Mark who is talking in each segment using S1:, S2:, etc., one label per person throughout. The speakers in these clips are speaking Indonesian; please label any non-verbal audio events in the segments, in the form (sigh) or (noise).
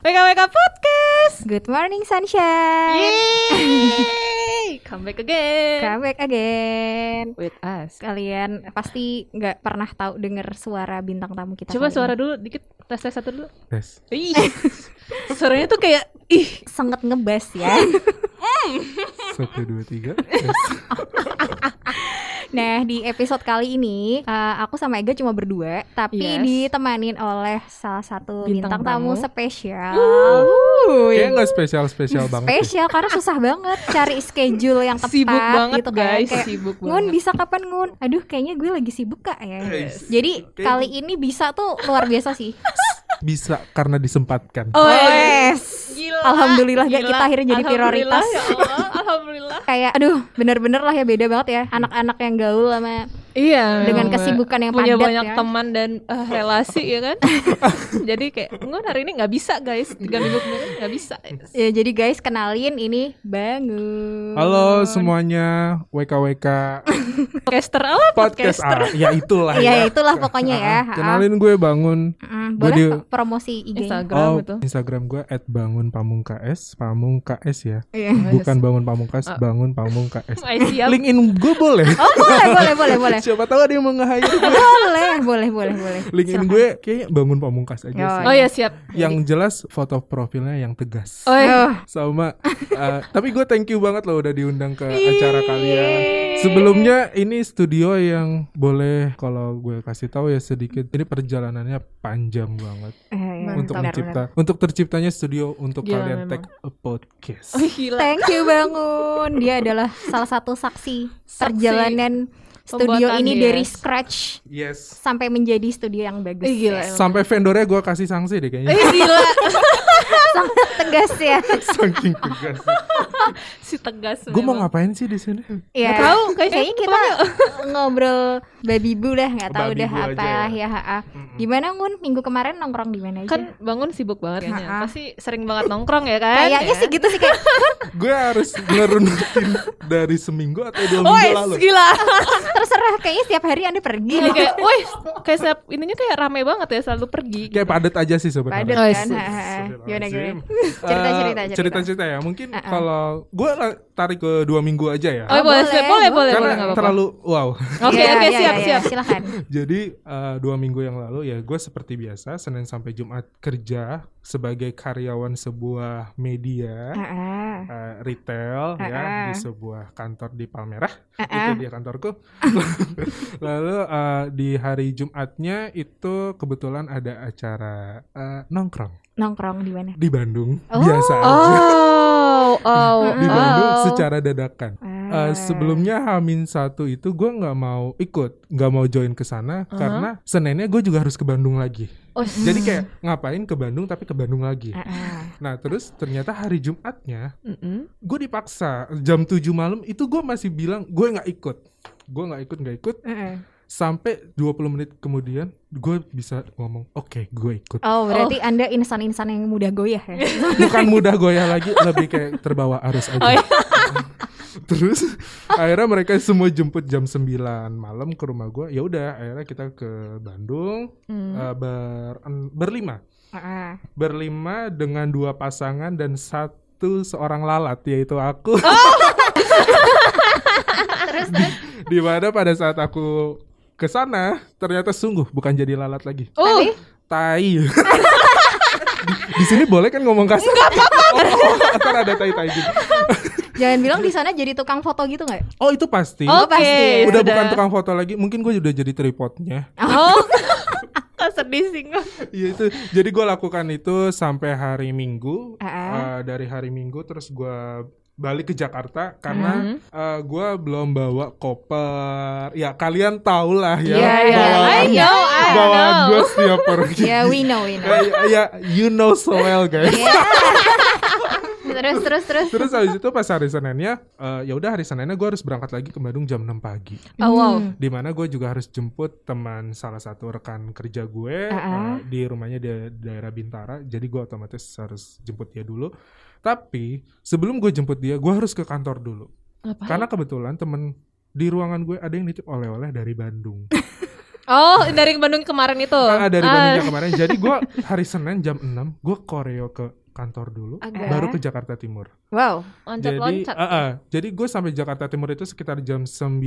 S1: WKWK Podcast.
S2: Good morning sunshine.
S1: Yeay! (laughs) Come back again.
S2: Come back again.
S1: With us.
S2: Kalian pasti nggak pernah tahu dengar suara bintang tamu kita.
S1: Coba
S2: kali
S1: suara
S2: ini.
S1: dulu dikit, tes tes satu dulu.
S3: Tes.
S1: Ih. (laughs) Suaranya tuh kayak ih.
S2: sangat ngebas ya.
S1: (laughs)
S3: Satu dua tiga. Tes.
S2: nah di episode kali ini eh, aku sama Ega cuma berdua, tapi
S1: Yes.
S2: ditemanin oleh salah satu
S1: Bintang
S2: bintang, tamu
S1: tamu.
S2: spesial.
S1: Ah.
S3: Kayaknya nggak spesial spesial banget. deh.
S2: Spesial karena susah banget cari schedule yang tepat.
S1: Sibuk banget
S2: gitu kan.
S1: guys,
S2: Kayak,
S1: sibuk
S2: Ngun
S1: banget.
S2: bisa kapan Ngun? Aduh kayaknya gue lagi sibuk kak ya.
S3: Yes.
S2: Jadi
S3: Oke.
S2: kali ini bisa tuh luar biasa sih.
S3: Bisa karena disempatkan.
S1: Oh,
S2: Wes.
S1: Gila.
S2: Alhamdulillah
S1: gila.
S2: gak iya. kita akhirnya jadi
S1: Alhamdulillah,
S2: prioritas.
S1: ya Allah, (laughs) Alhamdulillah.
S2: Kayak aduh bener-bener lah ya beda banget ya anak-anak yang gaul sama
S1: Iya. memang,
S2: dengan
S1: Mbak.
S2: kesibukan yang
S1: punya
S2: padat
S1: banyak
S2: ya.
S1: teman dan eh, relasi ya (laughs) kan. jadi kayak Ngun hari ini nggak bisa guys. Tiga minggu kemarin nggak bisa. (laughs)
S2: Ya jadi guys kenalin ini Bangun.
S3: Halo semuanya WKWK
S1: Podcaster apa?
S3: podcast
S1: Podcaster.
S3: A. Ya itulah.
S2: Iya itulah pokoknya ya.
S3: Ah, (laughs) Kenalin gue bangun.
S2: Mm,
S3: Gue
S2: boleh
S3: di-
S2: kok promosi IG-nya.
S1: Instagram
S3: oh,
S1: itu.
S3: Instagram gue @bangunpamungks, pamungks ya.
S2: Iya. (laughs)
S3: Bukan bangun pamungkas,
S1: Ah.
S3: bangun pamungks.
S1: Ay, siap.
S3: LinkedIn gue boleh.
S2: Oh boleh boleh boleh boleh.
S3: Siapa tahu ada yang mau
S2: (laughs)
S3: nge-hire.
S2: Boleh boleh boleh boleh.
S3: LinkedIn
S2: Silakan.
S3: gue kayaknya bangun pamungkas aja
S2: Yo,
S3: sih.
S1: Oh ya siap.
S3: Yang jelas foto profilnya yang tegas.
S1: Oh
S2: Aduh,
S3: sama eh, tapi gue thank you banget loh udah diundang ke acara kalian sebelumnya ini studio yang boleh kalau gue kasih tahu ya sedikit ini perjalanannya panjang banget
S2: eh, iya,
S3: untuk
S2: benar,
S3: mencipta untuk terciptanya studio untuk
S1: Gila,
S3: kalian
S1: memang.
S3: take a podcast
S1: Oh,
S2: benar.
S1: gila.
S2: Thank you Bangun. Dia adalah salah satu saksi,
S1: Saksi
S2: perjalanan studio
S1: pembuatan,
S2: ini
S1: yes.
S2: dari scratch
S3: yes
S2: sampai menjadi studio yang bagus.
S1: Ih, gila.
S2: Ya.
S3: sampai vendornya gue kasih sanksi deh kayaknya
S1: Eh gila (laughs)
S2: Sangat tegas ya.
S3: (laughs) saking
S1: (laughs)
S3: tegas
S1: si tegas.
S3: gue mau
S1: memang.
S3: ngapain sih di sini
S2: Ya.
S1: Nggak tahu, guys.
S2: Kayaknya kita ngobrol babi bu dah, nggak tahu
S3: Babi
S2: dah
S3: bu aja
S2: apa ya.
S3: ya.
S2: ha-ha. Gimana Ngun? Minggu kemarin nongkrong di mana aja?
S1: kan bangun sibuk banget kayaknya.
S2: Ha-ha.
S1: Pasti sering banget nongkrong ya kan.
S2: kayaknya
S1: ya?
S2: sih gitu sih kayak
S3: gue harus ngerunutin dari seminggu atau dua
S1: Oh,
S3: minggu lalu
S1: gila.
S2: terserah kayaknya setiap hari Anda pergi.
S1: Iya, kayak, woi, kayak setiap ininya kayak rame banget ya selalu pergi.
S3: kayak padat aja sih sebenarnya
S2: (laughs) Padat
S1: Oh,
S2: kan.
S1: sih.
S2: ha-ha. Gimana gimana? Cerita, cerita,
S3: cerita
S2: cerita.
S3: Eh, cerita cerita ya mungkin
S2: Uh-uh.
S3: kalau gue tarik ke dua minggu aja ya
S1: Oh, boleh,
S2: boleh,
S1: boleh, boleh, boleh,
S3: karena
S1: nggak apa-apa.
S3: terlalu wow (laughs)
S1: Oke,
S2: Iya,
S1: oke,
S2: iya,
S1: siap,
S2: iya,
S1: siap.
S2: Silakan.
S3: jadi eh, dua minggu yang lalu ya gue seperti biasa senin sampai jumat kerja sebagai karyawan sebuah media
S2: Ha-ha.
S3: eh, retail ya
S2: Uh-uh.
S3: di sebuah kantor di Palmerah
S2: Ha-ha.
S3: itu dia kantorku
S1: (laughs)
S3: lalu eh, di hari jumatnya itu kebetulan ada acara eh, nongkrong
S2: Nongkrong di mana?
S3: di Bandung
S2: Oh.
S3: biasa aja
S1: Oh, oh,
S3: di Bandung
S1: oh.
S3: secara dadakan
S2: Ah.
S3: Eh, sebelumnya Hamin satu itu gue nggak mau ikut, nggak mau join ke sana
S1: Uh-huh.
S3: karena senennya gue juga harus ke Bandung lagi.
S1: Oh,
S3: Jadi kayak ngapain ke Bandung tapi ke Bandung lagi.
S2: Ah, ah.
S3: Nah terus ternyata hari Jumatnya
S1: mm-mm.
S3: gue dipaksa jam 7 malam itu gue masih bilang gue nggak ikut, gue nggak ikut nggak ikut
S2: Ah, ah.
S3: sampai 20 menit kemudian gue bisa ngomong oke gue ikut.
S2: Oh, berarti Anda insan-insan yang mudah goyah
S1: (laughs)
S2: ya.
S3: Bukan mudah goyah lagi, lebih kayak terbawa arus aja.
S1: Oh, iya.
S3: (laughs) terus akhirnya mereka semua jemput jam 9 malam ke rumah gua ya udah akhirnya kita ke Bandung
S1: Hmm.
S3: eh, ber- en- berlima
S2: Ah, ah.
S3: berlima dengan dua pasangan dan satu seorang lalat yaitu aku
S1: Oh.
S2: terus terus
S3: (laughs) di mana pada saat aku ke sana ternyata sungguh bukan jadi lalat lagi
S1: Oh,
S2: Tapi-
S1: (laughs)
S3: tai di, di sini boleh kan ngomong kasar Oh, ntar ada tai-tai gitu.
S2: jangan bilang di sana jadi tukang foto gitu nggak?
S3: Oh itu pasti.
S1: oke.
S2: pasti ya.
S3: udah, bukan
S1: sudah.
S3: tukang foto lagi. Mungkin gue udah jadi tripodnya.
S2: (laughs)
S1: Oh, kok sedih sih Ngun?
S3: (laughs) Iya itu. Jadi gue lakukan itu sampai hari Minggu.
S2: Ah.
S3: Eh, dari hari Minggu terus gue balik ke Jakarta karena
S2: Hmm.
S1: Mhm.
S3: eh, gue belum bawa koper. Ya kalian tau lah ya.
S2: Iya, iya.
S3: bawaan- (laughs)
S1: I know, I
S3: Bawaan
S1: know.
S3: gue setiap pergi.
S2: (laughs) Ya we know we know.
S3: (laughs) Eh, ya, ya, you know so well guys.
S2: Terus terus terus.
S3: Terus habis itu pas hari Seninnya, eh, ya udah hari Seninnya gue harus berangkat lagi ke Bandung jam 6 pagi.
S2: Hmm.
S1: Oh, wow.
S3: di mana gue juga harus jemput teman salah satu rekan kerja gue
S2: Ah-ah.
S3: eh, di rumahnya di daerah Bintara jadi gue otomatis harus jemput dia dulu tapi sebelum gue jemput dia gue harus ke kantor dulu
S1: Ngapain?
S3: karena kebetulan temen di ruangan gue ada yang nitip oleh-oleh dari Bandung
S1: Oh, dari Bandung kemarin itu.
S3: Ah, dari
S1: Ah,
S3: Bandung yang kemarin. Jadi gue hari Senin jam 6 gue koreo ke kantor dulu,
S1: Agak.
S3: baru ke Jakarta Timur.
S2: Wow.
S3: Jadi,
S1: Loncat-loncat. ya?
S3: ah, ah. jadi gue sampai Jakarta Timur itu sekitar jam 9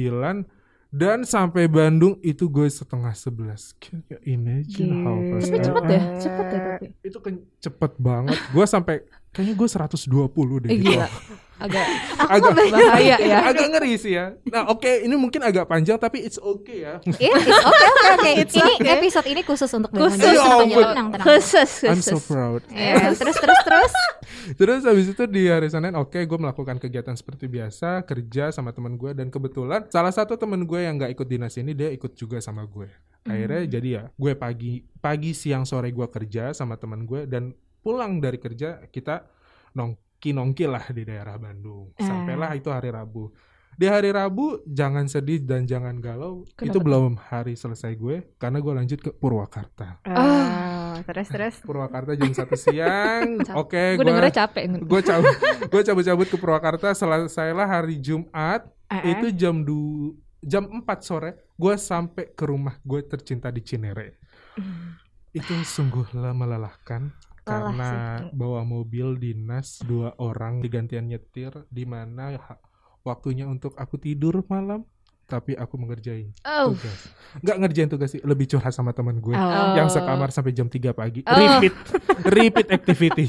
S3: dan sampai Bandung itu gue setengah 11 Can you imagine how
S2: Gila.
S3: fast
S1: Tapi
S3: I
S1: cepet
S3: am?
S1: ya, cepet ya tapi.
S3: Itu ken- cepet banget. Gue sampai kayaknya gue 120 deh.
S1: Eh,
S3: gitu.
S1: gila. Agak
S3: Agak
S2: (laughs)
S1: bahaya ya.
S3: agak ngeri sih ya. Nah oke ini mungkin agak panjang tapi it's
S1: (laughs)
S3: okay ya.
S2: Iya, it's okay, oke, oke.
S1: It's
S2: Ini
S1: okay.
S2: episode ini khusus Ya untuk
S1: Khusus
S2: Bang Andi.
S3: untuk
S2: tenang,
S3: Bang Andi.
S2: tenang, tenang.
S1: Khusus,
S3: Ya I'm so
S1: khusus.
S3: proud.
S2: Iya, terus terus terus.
S3: Terus habis itu di hari Senin oke gue melakukan kegiatan seperti biasa kerja sama teman gue dan kebetulan salah satu teman gue yang nggak ikut dinas ini dia ikut juga sama gue.
S1: Hmm.
S3: Akhirnya jadi ya gue pagi pagi siang sore gue kerja sama teman gue dan pulang dari kerja kita nongki nongki lah di daerah Bandung.
S1: Eh.
S2: Ah.
S3: Sampailah itu hari Rabu. Di hari Rabu jangan sedih dan jangan galau
S1: Kenapa
S3: itu
S1: tuh?
S3: belum hari selesai gue karena gue lanjut ke Purwakarta.
S2: Ah, terus terus.
S3: Purwakarta jam
S1: (laughs)
S3: satu siang.
S2: Uh-uh.
S1: Capek.
S3: Oke
S1: Gue
S3: gue
S1: dengernya capek. Ngun.
S3: gue cabut (laughs) gue cabut-cabut ke Purwakarta selesailah hari Jumat itu jam du jam 4 sore gue sampai ke rumah gue tercinta di Cinere itu sungguhlah melelahkan
S2: Ah. Lelah
S3: karena
S2: sih.
S3: bawa mobil dinas dua orang digantian nyetir di mana ya, ha- waktunya untuk aku tidur malam tapi aku mengerjain
S1: Oh.
S3: tugas nggak ngerjain tugas sih lebih curhat sama teman gue
S2: Oh.
S3: yang sekamar sampai jam 3 pagi
S1: Oh.
S3: repeat repeat
S2: (laughs)
S3: activity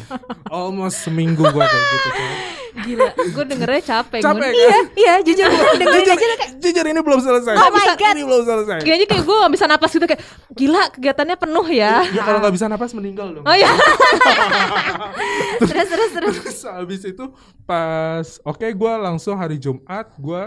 S3: almost seminggu gue kayak gitu coy.
S1: Gila, gue dengernya capek. Ngun.
S3: capek kan?
S2: (laughs) Iya, (laughs) jujur gue dengerin
S3: jujur,
S2: aja tuh kayak
S3: jujur ini belum selesai
S1: gitu Oh my God.
S3: ini belum selesai
S1: Kayaknya kayak gue gak bisa napas gitu kayak gila kegiatannya penuh ya.
S3: ya kalau nggak bisa napas meninggal dong
S1: Oh ya.
S2: terus terus terus.
S3: terus (laughs) habis itu pas oke gue langsung hari Jumat gue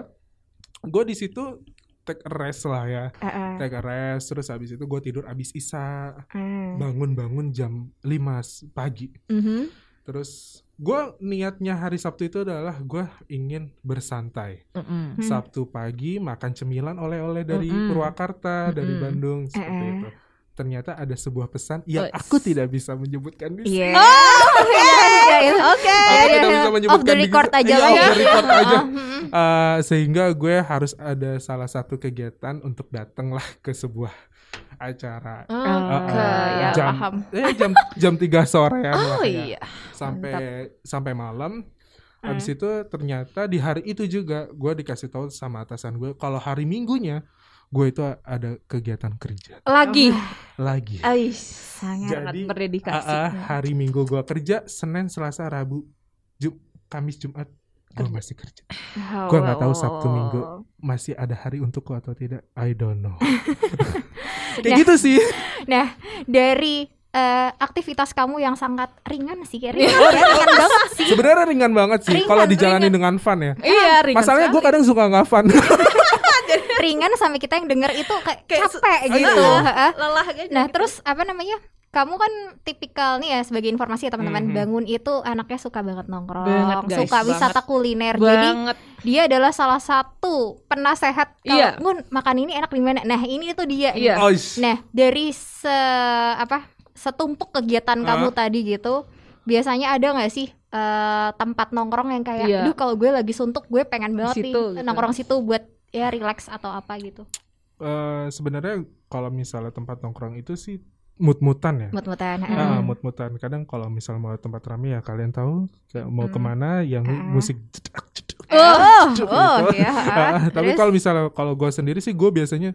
S3: gue di situ take a rest lah ya
S2: Heeh.
S3: take a rest terus habis itu gue tidur abis isa
S2: Uh-huh.
S3: bangun-bangun jam 5 pagi
S2: Mm-hmm.
S3: terus gue niatnya hari Sabtu itu adalah gue ingin bersantai
S1: Mm-mm.
S2: Hmm.
S3: Sabtu pagi makan cemilan oleh-oleh dari
S1: Mm-mm.
S3: Purwakarta, dari
S1: Mm-mm.
S3: Bandung
S2: Eh,
S3: seperti
S2: Eh-eh.
S3: itu. Ternyata ada sebuah pesan yang
S1: Wes.
S3: aku tidak bisa menyebutkan di sini.
S2: Oh, Iya. Oke.
S1: Oke.
S3: Aku
S2: Ya, ya,
S3: tidak
S2: ya.
S3: bisa
S2: Off
S3: menyebutkan
S2: the
S3: di-
S2: record aja
S3: Iya,
S2: lah
S3: off
S2: ya.
S3: the
S2: (laughs)
S3: record aja.
S2: Ah, mm-mm.
S3: Eh, sehingga gue harus ada salah satu kegiatan untuk datanglah ke sebuah acara.
S1: Oke,
S3: Eh,
S1: ya
S3: jam,
S1: paham.
S3: eh, jam jam 3 sore
S2: (laughs)
S3: ya.
S1: Oh iya.
S3: sampai sampai malam. Habis itu ternyata di hari itu juga gue dikasih tahu sama atasan gue kalau hari Minggunya gue itu ada kegiatan kerja
S1: Lagi.
S3: lagi.
S1: Eh, Ais.
S2: Sangat.
S1: Sangat
S3: Ah, Jadi,
S1: berdedikasi.
S3: Ah, ah, hari Minggu gue kerja, Senin, Selasa, Rabu, Jum, Kamis, Jumat gue
S1: Kerja.
S3: masih kerja.
S2: Wow,
S3: Gua nggak
S2: wow,
S3: tahu
S2: wow,
S3: Sabtu,
S2: wow,
S3: Minggu.
S2: wow.
S3: Masih ada hari untukku atau tidak? I don't know. Kayak gitu sih.
S2: Dari eh, aktivitas kamu yang sangat ringan sih, kayak
S1: Iya.
S2: ringan, ya, ringan banget sih.
S3: Sebenarnya ringan banget sih
S2: Ringan,
S3: kalau dijalani
S2: ringan.
S3: dengan fun ya.
S1: Iya, ringan.
S3: Masalahnya gue kadang suka nggak fun.
S2: Ringan sampai kita yang denger itu kayak
S1: Kayak se- Iya.
S2: capek
S3: Aduh.
S2: gitu. Heeh.
S1: lelah aja.
S2: Nah terus apa namanya? Kamu kan tipikal nih ya sebagai informasi ya teman-teman
S3: Mhm.
S2: bangun itu anaknya suka banget nongkrong,
S1: Banget, guys,
S2: suka wisata kuliner. Jadi
S1: banget.
S2: dia adalah salah satu penasehat kalau
S1: Iya.
S2: Ngun makan ini enak di mana. Nah ini tuh dia.
S3: (laughs)
S1: Iya.
S3: Oh, sh-
S2: Nah dari se apa setumpuk kegiatan
S3: Hah?
S2: kamu tadi gitu, biasanya ada nggak sih eh, tempat nongkrong yang kayak,
S1: Iya.
S2: aduh kalau gue lagi suntuk gue pengen banget
S1: situ,
S2: nih
S1: gitu.
S2: nongkrong situ buat ya relax atau apa gitu.
S3: eh, sebenarnya kalau misalnya tempat nongkrong itu sih mut-mutan ya.
S2: Mut-mutan. heeh.
S3: Ah,
S1: Mm.
S3: mut-mutan. Kadang kalau misal mau tempat rame ya kalian tahu kayak mau
S2: Mm.
S3: kemana yang
S2: Ah.
S3: musik cedak, cedak,
S2: Oh,
S3: cedak
S2: oh,
S3: gitu.
S2: ya. ah.
S3: Ah, tapi
S2: Terus?
S3: kalau misalnya kalau gue sendiri sih gue biasanya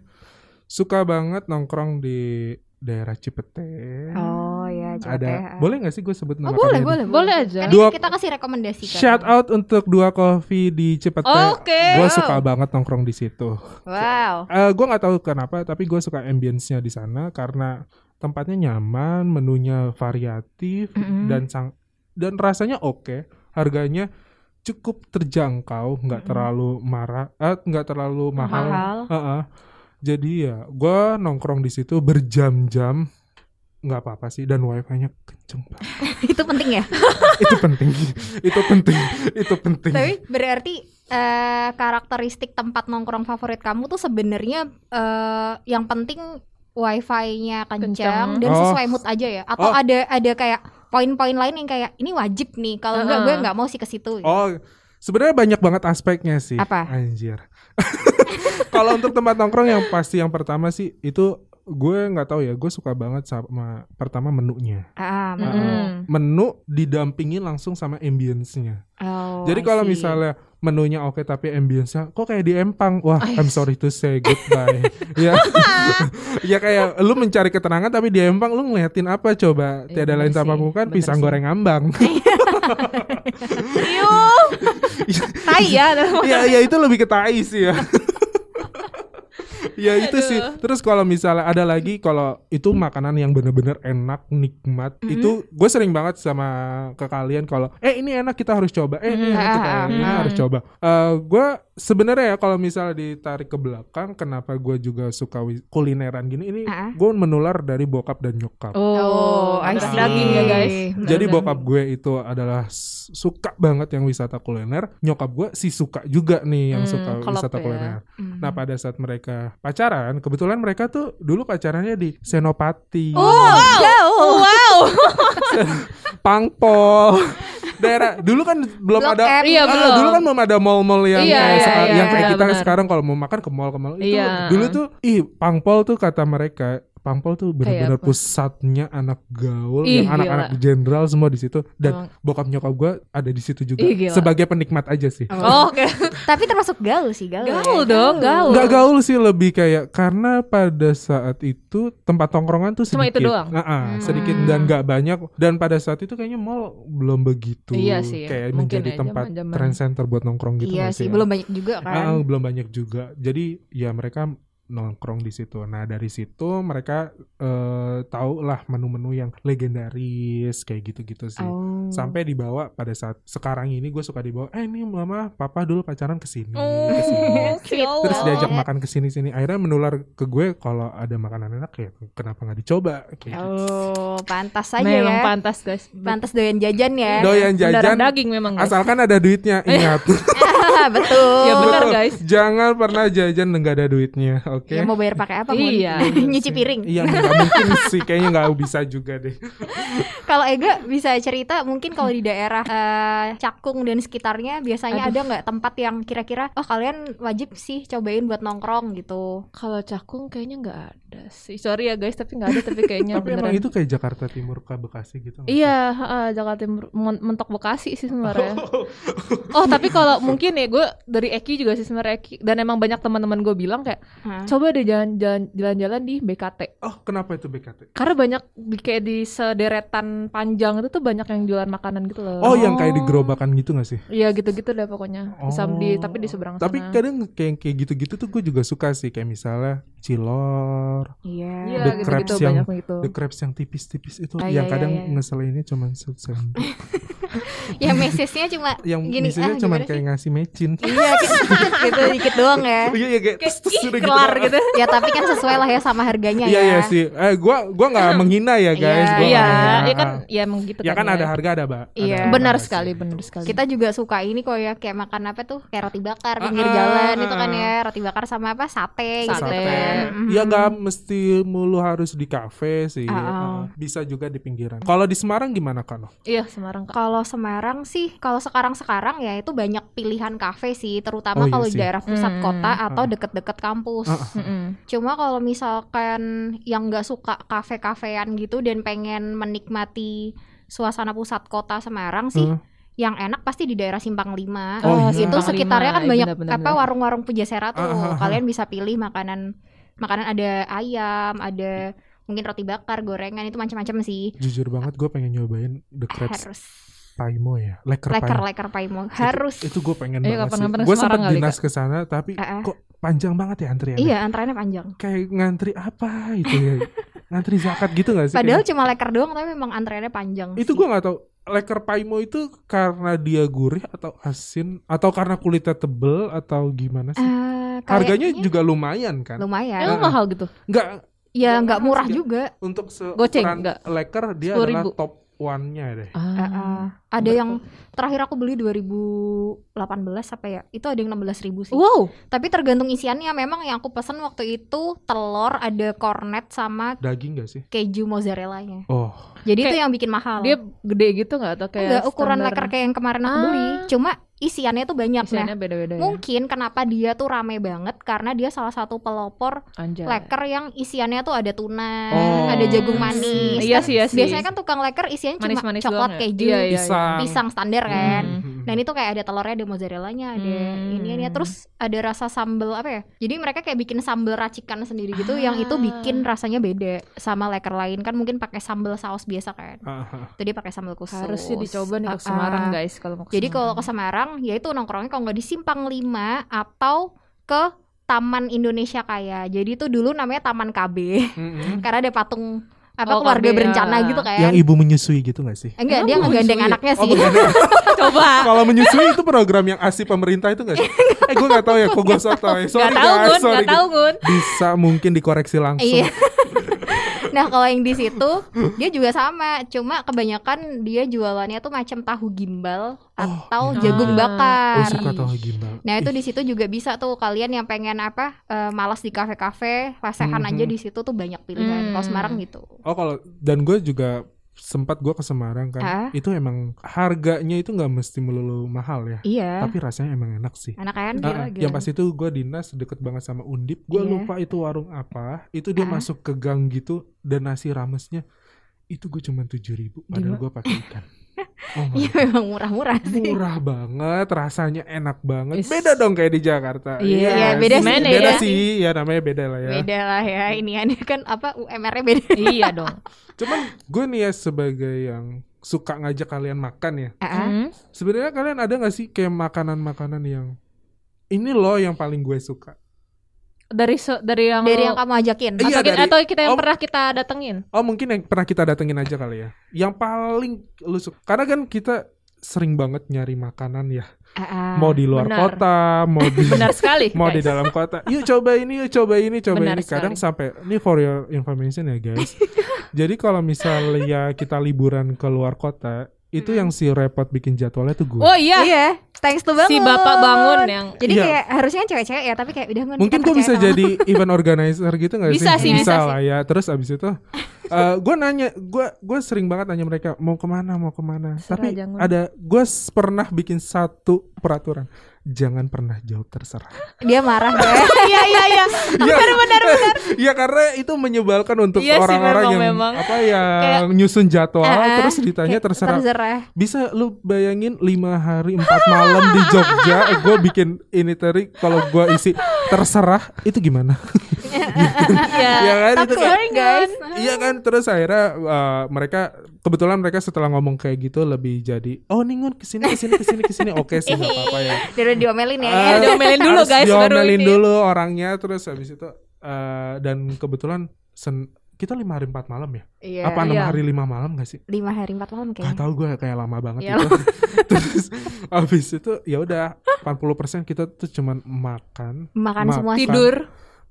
S3: suka banget nongkrong di daerah Cipete.
S2: Oh ya, coba
S3: Ada
S2: teh.
S3: boleh nggak sih gue sebut
S2: Oh,
S3: nama
S2: boleh,
S3: kafe ini?
S2: boleh,
S1: Boleh aja.
S2: Kan
S3: Dua-
S2: kita kasih rekomendasi kan.
S3: Shout out untuk dua coffee di Cipete.
S1: Oke.
S3: Gue Eh, suka banget nongkrong di situ.
S2: Wow.
S3: Eh gue nggak tahu kenapa, tapi gue suka ambience-nya di sana karena tempatnya nyaman, menunya variatif
S2: Mm-mm.
S3: dan sang dan rasanya oke, harganya cukup terjangkau,
S2: Mm-mm.
S3: nggak terlalu marah, eh, nggak terlalu mahal.
S2: Mahal.
S3: Heeh. Jadi ya, gue nongkrong di situ berjam-jam, nggak apa-apa sih dan wifi-nya kenceng banget.
S2: (laughs) Itu penting ya.
S3: itu penting, itu penting, itu penting.
S2: Tapi berarti eh, karakteristik tempat nongkrong favorit kamu tuh sebenarnya eh, yang penting wifi-nya kencang
S1: Kencang.
S2: dan
S3: Oh.
S2: sesuai mood aja ya. Atau
S3: Oh.
S2: ada ada kayak poin-poin lain yang kayak ini wajib nih. Kalau enggak gue
S1: Heeh.
S2: nggak mau sih ke situ.
S3: Oh, sebenarnya banyak banget aspeknya sih.
S2: Apa?
S3: Anjir. (laughs) kalau untuk tempat nongkrong yang pasti yang pertama sih itu gue nggak tahu ya gue suka banget sama pertama menunya
S2: Ah,
S1: Mm.
S2: mm.
S3: Heeh. menu didampingin langsung sama ambience-nya
S2: Oh,
S3: jadi
S2: I
S3: kalau
S2: see.
S3: misalnya menunya oke tapi ambience-nya kok kayak di empang wah I'm sorry to say goodbye (laughs)
S1: (laughs)
S3: ya ya kayak lu mencari ketenangan tapi di empang lu ngeliatin apa coba
S1: Iya,
S3: tiada
S1: bener
S3: lain tanpa
S1: sih,
S3: bukan
S1: bener
S3: pisang
S1: sih.
S3: goreng ambang
S1: tai (laughs) ya dalam
S3: ya ya itu lebih ke tai sih ya ya itu
S1: Aduh.
S3: sih terus kalau misalnya ada lagi kalau itu makanan yang bener-bener enak nikmat
S2: Mhm.
S3: itu gue sering banget sama ke kalian kalau eh ini enak kita harus coba eh ini
S2: Mhm.
S3: enak kita
S2: Ah, ah,
S3: ini
S1: ah.
S3: harus coba Eh gue sebenarnya ya kalau misalnya ditarik ke belakang kenapa gue juga suka wi- kulineran gini ini
S2: Ah.
S3: gue menular dari bokap dan nyokap
S2: Oh, I
S1: makanan
S2: see.
S1: daging ya guys
S3: jadi
S1: Makanan
S3: bokap gue itu adalah s- suka banget yang wisata kuliner. Nyokap gue si suka juga nih yang
S1: Hmm,
S3: suka
S1: kolab
S3: wisata
S1: ya.
S3: kuliner.
S2: Mm.
S3: Nah pada saat mereka pacaran, kebetulan mereka tuh dulu pacarannya di Senopati,
S2: Oh, jauh.
S1: wow
S3: Pangpol, (laughs) daerah. Dulu kan belum
S2: Blok
S3: ada.
S2: M.
S1: iya
S3: Ah,
S1: belum
S3: dulu kan belum ada mall-mall yang
S1: Iya,
S3: kayak
S1: iya,
S3: seka-
S1: iya,
S3: yang kayak
S1: iya,
S3: kita
S1: benar.
S3: sekarang kalau mau makan ke mall ke mall itu
S1: Iya.
S3: dulu tuh ih pangpol tuh kata mereka pangpol tuh benar-benar
S1: apa?
S3: pusatnya anak gaul
S1: Ih,
S3: yang anak-anak jenderal semua di situ dan
S1: Emang.
S3: bokap nyokap gue ada di situ juga
S1: Ih, gila.
S3: sebagai penikmat aja sih
S1: Oh, oke
S2: Tapi termasuk gaul sih, gaul. ya.
S1: gaul dong gaul
S3: nggak gaul sih lebih kayak karena pada saat itu tempat tongkrongan tuh
S1: Cuma
S3: sedikit
S1: itu doang?
S3: Nga-nga,
S2: Hmm.
S3: sedikit dan nggak banyak dan pada saat itu kayaknya mall belum begitu
S1: Iya sih ya,
S3: kayak
S1: mungkin
S3: menjadi
S1: ya,
S3: tempat
S1: zaman-zaman.
S3: trend center buat nongkrong gitu
S2: iya
S3: nggak
S2: sih,
S3: ya?
S2: belum banyak juga
S3: Ah,
S2: kan.
S3: belum banyak juga. Jadi ya mereka nongkrong di situ. Nah dari situ mereka eh, tahu lah menu-menu yang legendaris kayak gitu-gitu sih.
S2: Oh.
S3: Sampai dibawa pada saat sekarang ini gue suka dibawa. Eh ini mama papa dulu pacaran kesini, kesini.
S1: (laughs) Oh,
S2: Sweet.
S1: ya Allah.
S3: Iya Terus diajak
S2: banget.
S3: makan kesini-sini. Akhirnya menular ke gue kalau ada makanan enak ya kenapa nggak dicoba? Kayak gitu.
S2: Oh, pantas aja
S1: memang
S2: ya.
S1: pantas guys
S2: pantas doyan jajan ya.
S3: Doyan
S1: Darah
S3: Oh, jajan.
S1: daging memang guys
S3: Asalkan ada
S1: (laughs)
S3: duitnya ingat.
S2: (laughs) Betul.
S1: Ya, benar.
S3: Betul.
S1: guys.
S3: Jangan pernah jajan nggak ada duitnya, oke?
S2: Ya mau bayar pakai apa? Mun? (laughs)
S1: Iya. (laughs)
S2: Nyuci piring.
S3: Iya nggak mungkin sih Kayaknya nggak bisa juga deh
S2: Kalau Ega bisa cerita mungkin kalau di daerah eh, Cakung dan sekitarnya biasanya
S1: Aduh.
S2: ada nggak tempat yang kira-kira oh kalian wajib sih cobain buat nongkrong gitu.
S1: kalau cakung kayaknya nggak ada sih sorry ya guys tapi nggak ada tapi kayaknya
S3: (laughs) Tapi emang
S1: Iya, beneran
S3: itu kayak Jakarta Timur ke Bekasi gitu nggak
S1: Iya, heeh, Jakarta Timur men- mentok Bekasi sih
S3: sih?
S1: sebenarnya. Oh, tapi kalau mungkin ya gue dari Eki juga sih sebenarnya Eki dan emang banyak teman-teman gue bilang kayak
S2: Hah?
S1: coba deh jalan-jalan jalan-jalan di BKT.
S3: (laughs) Oh kenapa itu BKT?
S1: Karena banyak di, kayak di sederetan panjang itu tuh banyak yang jualan makanan gitu loh.
S3: Oh, yang kayak di gerobakan gitu gak sih?
S1: Iya gitu-gitu deh pokoknya. Di sam- di- tapi di seberang
S3: Oh. Tapi
S1: sana.
S3: kadang kayak kayak gitu-gitu tuh gue juga suka sih Kayak misalnya Cilor
S2: Iya.
S1: Iya
S3: The
S1: gitu-gitu
S3: crabs yang-
S1: banyak gitu.
S3: The crepes yang tipis-tipis itu
S2: Ah,
S3: Yang
S2: iya,
S3: kadang
S2: iya, iya.
S3: ngeselinnya cuman
S2: (laughs)
S3: sesendok
S2: Ya message-nya cuma
S3: Yang
S2: Gini,
S3: misalnya
S2: ah,
S3: cuman
S2: gimana
S3: kayak ngasih mecin
S2: (laughs) iya gitu dikit doang ya.
S3: Iya iya kayak tes tes udah gitu
S1: kelar gitu.
S2: Ya tapi kan sesuai lah ya sama harganya
S3: Iya
S2: ya.
S3: iya sih Eh gua gua
S2: (laughs)
S3: gak menghina ya guys
S2: Iya,
S3: Gua nggak
S1: Iya,
S3: menghina.
S1: ya kan ya emang gitu
S3: (laughs) Ya kan ada harga ada ya. mbak
S2: Iya.
S1: Benar sekali, benar sekali.
S2: Kita juga suka ini kok ya kayak makan apa tuh kayak roti bakar pinggir
S3: Ah, ah,
S2: jalan
S3: ah,
S2: itu kan
S3: ah.
S2: ya roti bakar sama apa sate, gitu
S1: Sate.
S2: kan. Mhm.
S3: Ya nggak mesti mulu harus di kafe sih.
S2: Ah,
S3: Ah, Bisa juga di pinggiran. Kalau di Semarang gimana kan?
S1: Iya, Semarang Kak.
S2: Kalau Semarang sih, kalau sekarang-sekarang ya itu banyak pilihan kafe sih, terutama
S3: Oh, iya
S2: kalau di
S3: sih.
S2: daerah pusat
S1: Hmm.
S2: kota atau
S3: Ah.
S2: deket-deket kampus.
S3: Ah, ah.
S1: Mm-mm.
S2: Cuma kalau misalkan yang nggak suka kafe-kafean gitu dan pengen menikmati suasana pusat kota Semarang sih,
S3: Hmm.
S2: yang enak pasti di daerah Simpang 5.
S3: Oh, iya.
S2: Itu
S1: Simpang
S2: sekitarnya
S1: lima,
S2: kan
S1: iya,
S2: banyak
S1: benar-benar.
S2: apa warung-warung pujasera tuh.
S3: Ah, ah, ah.
S2: Kalian bisa pilih makanan makanan ada ayam, ada mungkin roti bakar, gorengan itu macam-macam sih.
S3: Jujur banget gue pengen nyobain the crepes
S2: Harus
S3: Paimo ya, leker Paimo.
S2: leker-leker paimo. Harus.
S3: Itu, itu gue pengen
S1: Iya,
S3: banget
S1: kapan-kapan
S3: sih.
S1: ke
S3: Gue
S1: Semarang
S3: sempet
S1: kali,
S3: dinas ke sana tapi
S2: Ah, ah.
S3: kok panjang banget ya antriannya.
S2: Iya, antreannya panjang.
S3: Kayak ngantri apa itu
S1: (laughs)
S3: ya? ngantri zakat gitu gak sih?
S2: Padahal cuma leker doang tapi memang antreannya panjang.
S3: Kayak- itu gue nggak tahu. Leker Paimo itu karena dia gurih atau asin atau karena kulitnya tebel atau
S1: Eh,
S3: gimana sih? Harganya juga lumayan kan?
S2: Eh, lumayan.
S1: Emang mahal gitu.
S3: Nggak
S2: Ya nggak
S3: Lumayan
S2: murah
S3: sih.
S2: juga.
S3: untuk se
S1: Goceng,
S3: ukuran
S1: enggak?
S3: leker dia
S1: 10.000.
S3: adalah top one-nya deh.
S1: Hmm.
S2: Ah, ah. ada yang terakhir aku beli 2018 apa ya? Itu ada yang 16.000 sih.
S1: Wow,
S2: Tapi tergantung isiannya. Memang yang aku pesan waktu itu telur ada kornet sama
S3: Daging gak sih?
S2: keju mozzarella-nya.
S3: Oh,
S2: Jadi itu
S1: Kayak
S2: yang bikin mahal.
S1: dia gede gitu nggak atau kayak
S2: Enggak ukuran
S1: standar?
S2: leker kayak yang kemarin aku
S1: Ah.
S2: beli. Cuma isiannya tuh banyak
S1: Isiannya
S2: nah.
S1: beda-beda ya.
S2: Mungkin kenapa dia tuh rame banget karena dia salah satu pelopor
S1: Anjay.
S2: leker yang isiannya tuh ada
S1: Ah,
S2: tuna,
S3: Oh,
S2: ada jagung
S3: I
S2: manis.
S1: see. Ya. Iya
S2: Kan
S1: sih, iya sih.
S2: Biasanya kan tukang leker isiannya cuma
S1: Manis-manis
S2: coklat
S1: doang ya? Iya,
S2: keju,
S1: iya, iya.
S3: pisang.
S2: pisang standar kan.
S3: Hmm.
S1: Nah,
S2: Dan itu kayak ada telurnya, ada mozzarellanya, ada
S1: Hmm.
S2: ini ini terus ada rasa sambel apa ya? Jadi mereka kayak bikin sambel racikan sendiri gitu yang itu
S1: Ah.
S2: bikin rasanya beda sama leker lain kan mungkin pakai sambel saus biasa kan.
S3: Ah, ah.
S2: Itu dia pakai sambel khusus.
S1: Harus sih dicoba nih ke
S2: Ah,
S1: Semarang
S2: ah.
S1: guys kalau mau ke
S2: Jadi
S1: Semarang.
S2: kalau ke Semarang ya itu nongkrongnya kalau nggak di Simpang 5 atau ke Taman Indonesia Kaya. Jadi itu dulu namanya Taman KB
S3: Mm-mm.
S2: (laughs) karena ada patung apa
S1: Oh, KB,
S2: keluarga berencana
S1: ya.
S2: gitu kan.
S3: hmm.
S2: Eh,
S3: Yang ibu menyusui gitu gak sih?
S2: Enggak, dia
S1: Emang
S2: ngegandeng
S1: menyusui ya?
S2: anaknya
S3: Oh,
S2: sih.
S3: bukan.
S1: (laughs) coba.
S3: Kalau menyusui itu program yang asli pemerintah itu
S2: (laughs)
S3: gak sih? eh gue gak tahu ya, kok gue sotoy. Sorry
S1: Gak tahu
S3: guys,
S1: Gun,
S3: sorry
S1: gak tahu Gun.
S3: Bisa mungkin dikoreksi langsung.
S2: (laughs) Iya. (laughs) nah kalau yang di situ dia juga sama, cuma kebanyakan dia jualannya tuh macam tahu gimbal atau
S3: iya.
S1: Ah.
S2: jagung
S3: Oh
S2: bakar.
S3: suka tahu gimbal.
S2: Nah itu di situ juga bisa tuh kalian yang pengen apa eh, malas di kafe-kafe, lesehan
S3: Mhm.
S2: aja di situ tuh banyak pilihan. Kalau
S1: Hmm.
S2: Semarang gitu.
S3: Oh kalau dan gue juga sempat gue ke Semarang kan.
S2: Ah.
S3: Itu emang harganya itu nggak mesti melulu mahal ya.
S2: Iya.
S3: Tapi rasanya emang enak sih.
S2: Enak kan?
S1: Gila,
S3: Ah, ah.
S1: gila.
S3: yang pasti itu gue dinas deket banget sama Undip. Gue
S2: Iya.
S3: lupa itu warung apa. Itu dia
S2: Ah.
S3: masuk ke gang gitu dan nasi ramesnya itu gue cuma tujuh ribu. Padahal
S1: Gila.
S3: gue pakai
S2: (laughs)
S3: ikan. Oh my
S2: (laughs) Iya
S3: God.
S2: memang murah-murah sih.
S3: murah banget, rasanya enak banget.
S1: Is-
S3: Beda dong kayak di Jakarta.
S1: Iya,
S3: nggak
S2: beda sih,
S3: Beda,
S2: beda
S3: sih, ya namanya beda lah ya.
S2: Beda lah ya ini aneh kan apa UMR-nya
S1: (laughs)
S2: beda.
S1: (laughs) iya dong.
S3: Cuman gue nih ya sebagai yang suka ngajak kalian makan ya.
S2: Ah,
S1: Hmm.
S3: Sebenarnya kalian ada nggak sih kayak makanan-makanan yang ini loh yang paling gue suka.
S1: Dari se- dari yang
S2: Dari
S1: lo
S2: yang kamu ajakin.
S3: Iya,
S1: masakin
S3: dari-
S1: atau kita yang
S3: Om-
S1: pernah kita datengin?
S3: Oh mungkin yang pernah kita datengin aja kali ya. Yang paling lu suka. Karena kan kita sering banget nyari makanan ya.
S2: Ah, ah.
S3: Mau di luar
S1: benar.
S3: kota, mau di
S1: (laughs) Benar sekali.
S3: mau
S1: guys.
S3: di dalam kota. (laughs) Yuk coba ini, yuk coba ini, coba
S1: Benar
S3: ini. Kadang sampai ini for your information ya guys. Jadi kalau misalnya kita liburan ke luar kota, itu yang si repot bikin jadwalnya tuh gue.
S1: Oh iya,
S2: Iya, thanks to bangun.
S1: si bapak bangun ya. yang
S2: Jadi
S3: Iya.
S2: kayak harusnya kan cewek-cewek ya, tapi kayak udah Ngun,
S3: Mungkin
S2: kita
S3: gue bisa
S2: percaya sama-
S3: jadi event organizer gitu gak
S1: Bisa
S2: sih,
S3: sih?
S2: bisa
S3: lah ya. Terus abis itu, eh gue nanya, gue gue sering banget nanya mereka mau kemana, mau kemana.
S1: Terserah,
S3: Tapi
S1: jangan.
S3: ada gue s- pernah bikin satu peraturan, jangan pernah jawab terserah.
S2: dia
S3: (laughs)
S2: marah ya.
S1: (laughs) iya iya (laughs) iya.
S3: Iya benar benar. (laughs) Iya karena itu menyebalkan untuk
S1: Iya sih,
S3: orang-orang
S1: memang,
S3: yang
S1: memang.
S3: apa yang nyusun jadwal
S2: Ah,
S3: terus ditanya
S2: Kayak
S3: Iya, terserah.
S2: terserah.
S3: Bisa lu bayangin lima hari empat malam di Jogja gue bikin ini tadi kalau gue isi terserah itu gimana?
S1: Iya.
S3: Iya kan itu
S2: Takut
S3: kan.
S2: guys.
S3: Iya kan terus akhirnya eh, mereka kebetulan mereka setelah ngomong kayak gitu lebih jadi oh ningun kesini kesini kesini kesini oke sih nggak apa-apa ya
S2: Dia diomelin ya.
S3: Ah,
S1: diomelin dulu,
S3: harus
S1: guys, baru
S3: diomelin
S1: ini.
S3: dulu orangnya terus habis itu eh, dan kebetulan sen- kita lima hari empat malam ya
S2: Iya.
S3: apa enam
S1: Iya.
S3: hari lima malam gak sih
S2: Lima hari empat malam
S3: Gak
S2: kayaknya.
S3: tahu gue kayak lama banget
S2: Iya.
S3: itu
S1: (laughs)
S3: terus habis itu ya udah 80% kita tuh cuman makan
S2: Makan
S3: Makan.
S2: semua sih.
S1: Tidur.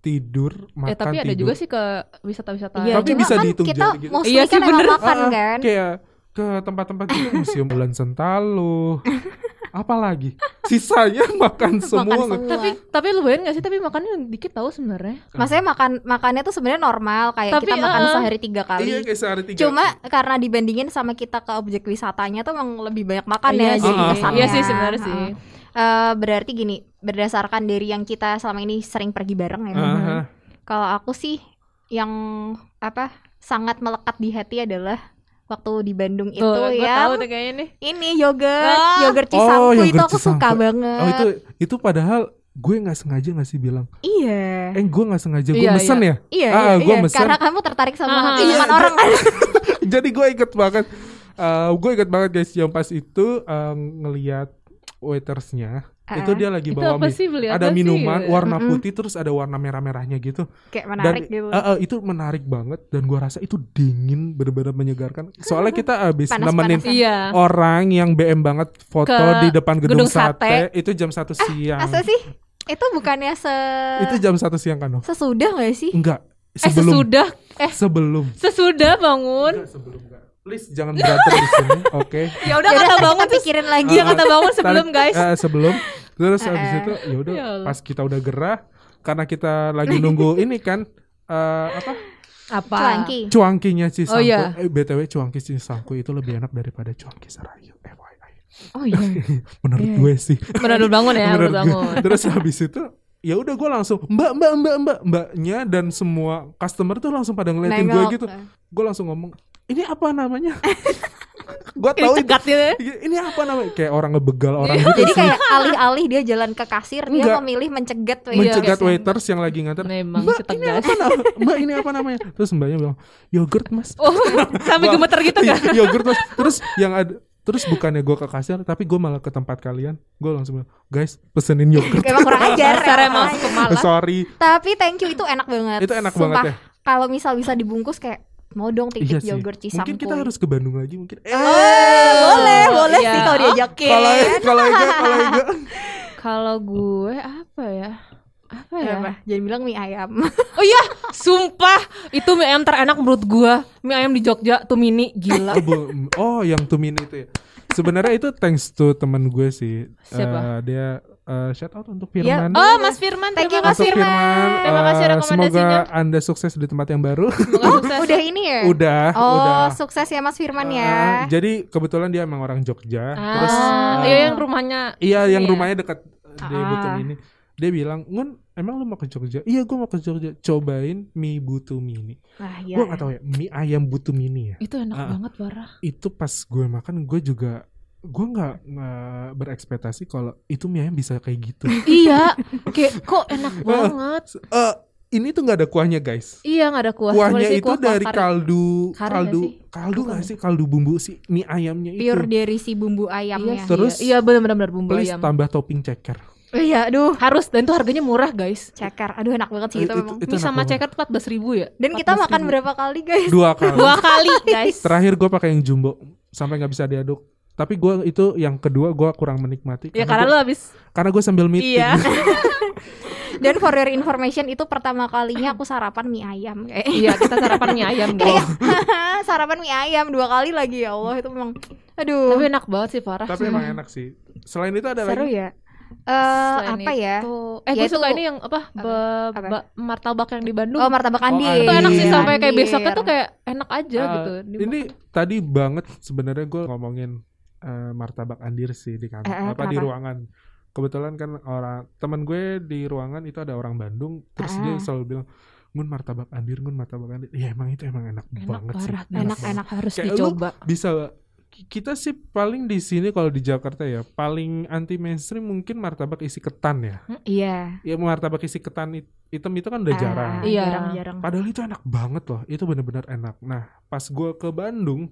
S3: tidur makan
S1: Ya tapi
S3: tidur
S1: ada juga sih ke wisata-wisata.
S2: Iya,
S3: Tapi
S2: cuma
S3: bisa
S2: kan
S3: dihitung
S2: kita
S3: jari gitu.
S2: mostly
S1: Iya sih,
S2: kan emang
S1: bener.
S2: makan
S3: Ah, ah,
S2: kan.
S3: kayak ke tempat-tempat gitu museum bulan sentalo apalagi
S1: (laughs)
S3: sisanya makan semua,
S2: makan
S3: nggak-
S2: semua.
S1: Tapi tapi lu bayangin gak sih tapi makannya dikit tahu sebenarnya.
S2: maksudnya makan makannya tuh sebenarnya normal kayak
S1: Tapi,
S2: kita makan
S1: eh,
S2: sehari tiga kali.
S3: iya kayak sehari tiga
S2: Cuma karena dibandingin sama kita ke objek wisatanya tuh emang lebih banyak makan
S1: Iya
S2: ya
S1: sih.
S2: jadi
S3: Ah, ah,
S2: kesannya.
S1: Iya sih sebenarnya sih.
S2: Ah. Eh, berarti gini, berdasarkan dari yang kita selama ini sering pergi bareng ya.
S3: Aha.
S2: Kalau aku sih yang apa sangat melekat di hati adalah waktu di Bandung itu
S1: Tuh, Oh, gua
S2: ya.
S1: tahu deh kayaknya nih.
S2: Ini yogurt,
S1: Ah.
S2: yogurt
S3: Oh,
S2: cisangku itu
S3: yogurt
S2: aku suka
S3: cisangku.
S2: banget.
S3: Oh itu
S1: Eh.
S3: itu padahal gue nggak sengaja nggak sih bilang,
S2: Iya.
S3: eh gue nggak sengaja gue
S1: Iya,
S3: mesen ya.
S2: Iya,
S3: Ah,
S2: iya,
S3: gua
S2: iya.
S3: mesen.
S2: Karena kamu tertarik
S1: Ah.
S2: sama
S1: Iya,
S2: minuman orang kan.
S3: ya. (laughs) Jadi gue inget banget, Eh gue inget banget guys yang pas itu eh, ngeliat waitersnya
S2: Ah,
S3: itu dia lagi
S1: Itu
S3: bawa
S1: apa
S3: mi-
S1: sih beli apa
S3: ada
S1: sih?
S3: minuman warna
S2: Mm-mm.
S3: putih terus ada warna merah-merahnya gitu.
S2: Kayak menarik
S3: dan,
S2: gitu.
S3: eh, eh, itu menarik banget dan gue rasa itu dingin bener-bener menyegarkan. Soalnya kita abis
S2: Panas-panasan.
S3: nemenin
S1: Iya.
S3: orang yang BM banget foto
S1: Ke
S3: di depan
S1: gedung
S3: gedung,
S1: Eh,
S3: sate. itu jam satu siang.
S2: Masa sih? Itu bukannya se
S3: itu jam satu siang kan? Nov?
S2: sesudah gak sih?
S3: Enggak.
S1: Eh
S3: Oh, Sebelum
S1: sesudah
S3: sebelum
S1: sesudah bangun.
S3: Enggak, sebelum enggak. Please jangan berantem di
S1: (laughs)
S3: sini. Oke.
S1: Ya udah
S2: Yaudah,
S1: kata
S2: ntar
S1: bangun
S2: kita
S1: tuh
S2: pikirin lagi.
S1: Iya kata bangun sebelum
S3: Tarik-
S1: guys.
S3: eh, sebelum terus
S2: Eh,
S3: habis itu ya udah
S1: Ya Allah.
S3: pas kita udah gerah karena kita lagi
S1: (laughs)
S3: nunggu ini kan eh, apa
S1: Apa?
S2: Cuanki.
S3: cuangkinya si
S1: Oh, iya.
S3: eh, btw cuangki si sangku itu lebih enak daripada cuangki serayu FYI
S1: Oh iya.
S3: menurut
S1: Iya.
S3: gue
S1: (laughs)
S3: sih
S1: Menurut bangun ya, menurut
S3: Menurut gue.
S1: bangun.
S3: terus habis itu ya udah gue langsung mbak mbak mbak mbak mbaknya dan semua customer tuh langsung pada ngeliatin gue
S2: Nengok.
S3: gitu gue langsung ngomong ini apa
S1: (laughs)
S3: namanya gue
S1: Ini
S3: tahu itu
S1: cegat gitu ya.
S3: Iya, ini apa namanya kayak orang ngebegal
S1: Iya,
S3: orang gitu
S2: Jadi
S3: sih (laughs)
S2: kayak alih-alih dia jalan ke kasir, dia
S3: Enggak.
S2: memilih mencegat waiters.
S3: mencegat waiters yang lagi nganter
S1: iya, Memang
S3: mbak ini
S1: setegas.
S3: apa nama- mbak ini apa namanya terus mbaknya bilang yogurt mas
S1: Oh, (laughs) sampai
S3: Wah,
S1: gemeter gitu kan.
S3: Iya, yogurt mas terus yang ada terus bukannya gue ke kasir tapi gue malah ke tempat kalian gue langsung bilang guys pesenin yogurt
S2: Emang kurang ajar.
S1: Dasar
S2: emang.
S1: emang kepala.
S3: (laughs) sorry
S2: Tapi thank you itu enak banget.
S3: itu enak
S2: Sumpah,
S3: banget ya
S2: Kalau misal bisa dibungkus kayak mau dong titip
S3: iya sih
S2: yogurt cisangkuy.
S3: mungkin kita harus ke Bandung lagi mungkin eh,
S2: Eh, boleh, boleh
S1: Oh, Iya.
S2: sih kalau diajakin.
S3: kalau kalau Ega kalau Ega (laughs)
S1: Kalau gue apa ya? Apa ya?
S2: Apa? Iya. Jangan bilang mie (laughs) ayam.
S1: Oh iya, sumpah itu mie ayam terenak menurut gue. Mie ayam di Jogja tuh mini gila. (laughs)
S3: Oh, bu- oh yang tumin itu ya sebenarnya itu thanks to temen gue sih
S1: Siapa?
S3: Eh, dia eh, shout out untuk Firman
S1: Oh Mas Firman,
S2: Thank
S1: terima
S2: you, Mas
S1: kasih.
S3: Untuk
S2: Firman.
S1: Terima
S3: eh,
S1: kasih rekomendasinya.
S3: Semoga Anda sukses di tempat yang baru.
S1: Semoga sukses.
S2: Udah ini ya?
S3: (laughs) udah,
S2: Oh,
S3: udah.
S2: sukses ya Mas Firman
S3: Eh,
S2: ya.
S3: jadi kebetulan dia emang orang Jogja. Terus
S1: Ah,
S3: eh,
S1: iya yang rumahnya.
S3: iya yang
S1: Iya.
S3: rumahnya dekat di
S1: Ah.
S3: Butum ini. Dia bilang, "Ngun, emang lu mau ke Jogja?" "Iya, gua mau ke Jogja. Cobain mie Butum ini."
S2: Nah,
S1: Iya,
S3: Gua nggak tahu ya, mie ayam Butum ini ya.
S1: Itu enak
S3: Ah.
S1: banget parah.
S3: Itu pas gue makan gue juga gue nggak nggak berekspektasi kalau itu mie ayam bisa kayak
S1: (laughs)
S3: gitu.
S1: iya, kayak kok
S3: (laughs)
S1: enak banget.
S3: Eh, ini tuh nggak ada kuahnya, guys.
S1: Iya nggak ada kuah. Cuma
S3: Kuahnya
S1: disini
S3: itu
S1: kuah- kuah
S3: dari
S1: kari.
S3: kaldu,
S1: Kari nggak
S3: kaldu,
S1: sih?
S3: kaldu
S1: Bukan
S3: nggak
S1: ya?
S3: sih? Kaldu bumbu si mie ayamnya itu.
S2: Pure dari si bumbu
S1: Iya,
S2: ayamnya.
S1: sih,
S3: Terus-
S1: iya, iya benar-benar bumbu
S3: Please
S1: ayam.
S3: tambah topping ceker.
S2: Iya, aduh.
S1: Harus dan itu harganya murah guys.
S2: Ceker. Aduh enak banget sih itu, memang.
S1: Mie
S3: Eh, enak
S1: sama
S3: banget.
S1: ceker empat belas ribu ya.
S2: Dan kita
S3: 14.000.
S2: makan berapa kali,
S3: (laughs)
S2: guys?
S3: Dua kali.
S1: Dua kali guys.
S3: Terakhir gue pakai yang jumbo sampai nggak bisa diaduk. Tapi gue itu yang kedua gue kurang menikmati.
S1: Ya karena lo
S3: gua-
S1: habis.
S3: karena gue sambil meeting.
S1: Iya.
S2: Dan for your information itu pertama kalinya aku sarapan mie ayam kayak. (laughs)
S1: Iya kita sarapan mie ayam guys.
S2: Kayak, (laughs) sarapan mie ayam dua kali lagi ya Allah itu memang aduh
S1: Tapi enak banget sih parah.
S3: (laughs) Tapi emang enak sih. Selain itu ada
S2: seru
S3: lagi.
S2: ya Eh
S1: Selain
S2: apa ya
S1: Tuh. Eh
S2: Ya,
S1: gue
S2: itu-
S1: suka ini yang apa? Be-
S2: Apa?
S1: ba- martabak yang di Bandung.
S2: oh martabak
S3: Oh,
S2: andin
S1: itu enak sih
S3: Andir.
S1: sampai kayak besoknya tuh kayak enak aja
S3: Eh,
S1: gitu.
S3: Ini tadi banget sebenarnya gue ngomongin eh, martabak andir sih di kantor
S2: Eh, eh,
S3: apa di
S2: kenapa?
S3: ruangan. Kebetulan kan orang teman gue di ruangan itu ada orang Bandung terus
S2: Ah.
S3: dia selalu bilang ngun martabak andir ngun martabak andir ya emang itu emang enak,
S1: enak
S3: banget sih
S1: parah.
S2: Enak,
S3: banget.
S2: enak.
S1: harus
S3: Kayak lu-
S1: dicoba.
S3: bisa ki- kita sih paling di sini kalau di Jakarta ya paling anti mainstream mungkin martabak isi ketan ya
S2: iya
S3: ya martabak isi ketan it- hitam itu kan udah
S2: Ah,
S3: jarang
S1: Iya.
S2: jarang jarang
S3: padahal itu enak banget loh itu bener-bener enak nah pas gua ke Bandung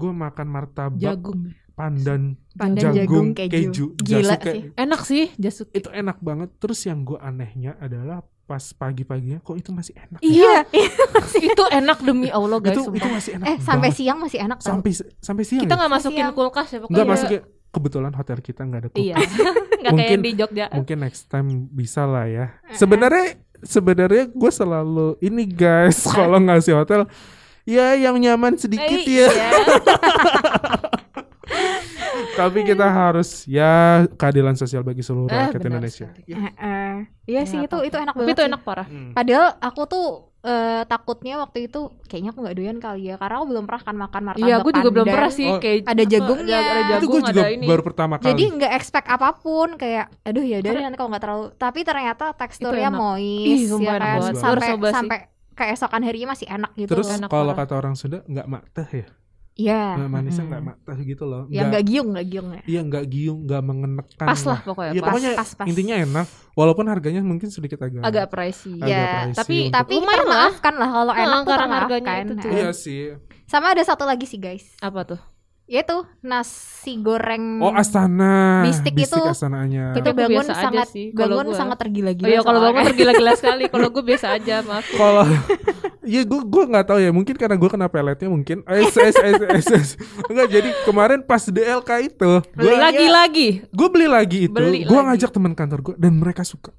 S3: gua makan martabak
S1: Jagung.
S3: pandan,
S2: Pandan, jagung,
S3: jagung,
S2: keju.
S3: keju,
S2: Gila
S3: Jasuke.
S2: sih.
S1: Enak sih jasuk.
S3: itu enak banget terus yang gua anehnya adalah pas pagi-paginya kok itu masih enak ya?
S1: Iya. itu enak demi Allah guys.
S3: itu itu
S1: sumpah.
S3: masih enak
S2: eh sampai
S3: banget.
S2: siang masih enak kan? tau
S3: sampai sampai siang
S1: Kita
S3: ya?
S1: nggak masukin
S2: Siang.
S1: kulkas ya pokoknya.
S3: nggak masuknya kebetulan hotel kita nggak ada kulkas (laughs)
S1: Iya. (laughs) Nggak kayak yang
S3: Mungkin-
S1: di Jogja.
S3: mungkin next time bisa lah ya.
S2: Eh,
S3: Sebenarnya sebenarnya gue selalu ini guys kalau ngasih hotel ya yang nyaman sedikit
S1: Eh,
S3: ya.
S1: iya.
S3: Tapi kita harus ya keadilan sosial bagi seluruh
S1: Eh,
S3: rakyat
S1: benar
S3: Indonesia.
S1: sekali.
S2: Eh, eh. iya sih
S1: Nggak
S2: itu
S1: apa-apa.
S2: itu enak
S1: Tapi
S2: banget
S1: itu
S2: sih.
S1: enak parah.
S3: Hmm.
S2: padahal aku tuh eh, takutnya waktu itu kayaknya aku nggak doyan kali ya karena aku belum pernah kan makan martabak
S1: Iya, gue juga belum
S2: pandan.
S1: pernah sih
S3: Oh.
S1: kayak
S2: Ada jagungnya.
S1: Ada
S3: Itu gue
S1: jagung,
S3: juga
S1: ada ini.
S3: baru pertama
S2: jadi
S3: kali.
S2: nggak expect apapun kayak aduh ya udah
S1: Karena-
S2: nanti kalau nggak terlalu tapi ternyata teksturnya
S1: enak.
S2: moist
S1: Ih, sumpah
S2: ya
S1: enak
S2: kan
S3: banget.
S2: sampai
S1: Harus coba sih.
S2: sampai keesokan harinya masih enak gitu
S3: Terus
S1: enak
S3: kalau
S1: banget.
S3: kata orang Sunda nggak makteh ya,
S2: Iya
S3: nggak manisnya
S1: Mm.
S3: nggak makteh gitu loh.
S2: ya
S3: Nggak-
S2: nggak giung nggak giung ya
S3: iya nggak giung, nggak mengenekan.
S1: Pas lah pokoknya.
S3: Iya,
S1: pas.
S3: pokoknya
S2: pas pas
S3: Intinya enak, walaupun harganya mungkin sedikit agak
S1: Agak pricey.
S3: agak
S2: Ya,
S3: pricey
S1: tapi-
S3: untuk-
S2: tapi
S1: Lumayan
S2: termaafkan lah kalau
S1: Nah,
S2: enak tuh
S1: karena
S2: termaafkan Nah,
S1: harganya itu tuh.
S3: iya sih.
S2: sama ada satu lagi sih guys
S1: Apa tuh?
S2: yaitu nasi goreng
S3: Oh Astana,
S2: Bistik Hmm. itu-
S3: Astanaannya.
S2: (laughs) itu
S1: Tapi aku
S2: bangun
S1: biasa aja
S2: sangat
S1: sih, kalau
S2: bangun
S1: gua.
S2: sangat tergila-gila
S1: Oh iya kalau bangun
S2: soalnya.
S1: tergila-gila sekali. Kalau gue biasa aja maaf.
S3: kalau ya gue gue nggak tahu ya mungkin karena gue kena peletnya mungkin eh es es es es, es. enggak jadi kemarin pas DLK itu gue
S1: Lagi-lagi.
S3: gue beli lagi itu
S1: Beli
S3: gue
S1: lagi.
S3: ngajak teman kantor gue dan mereka suka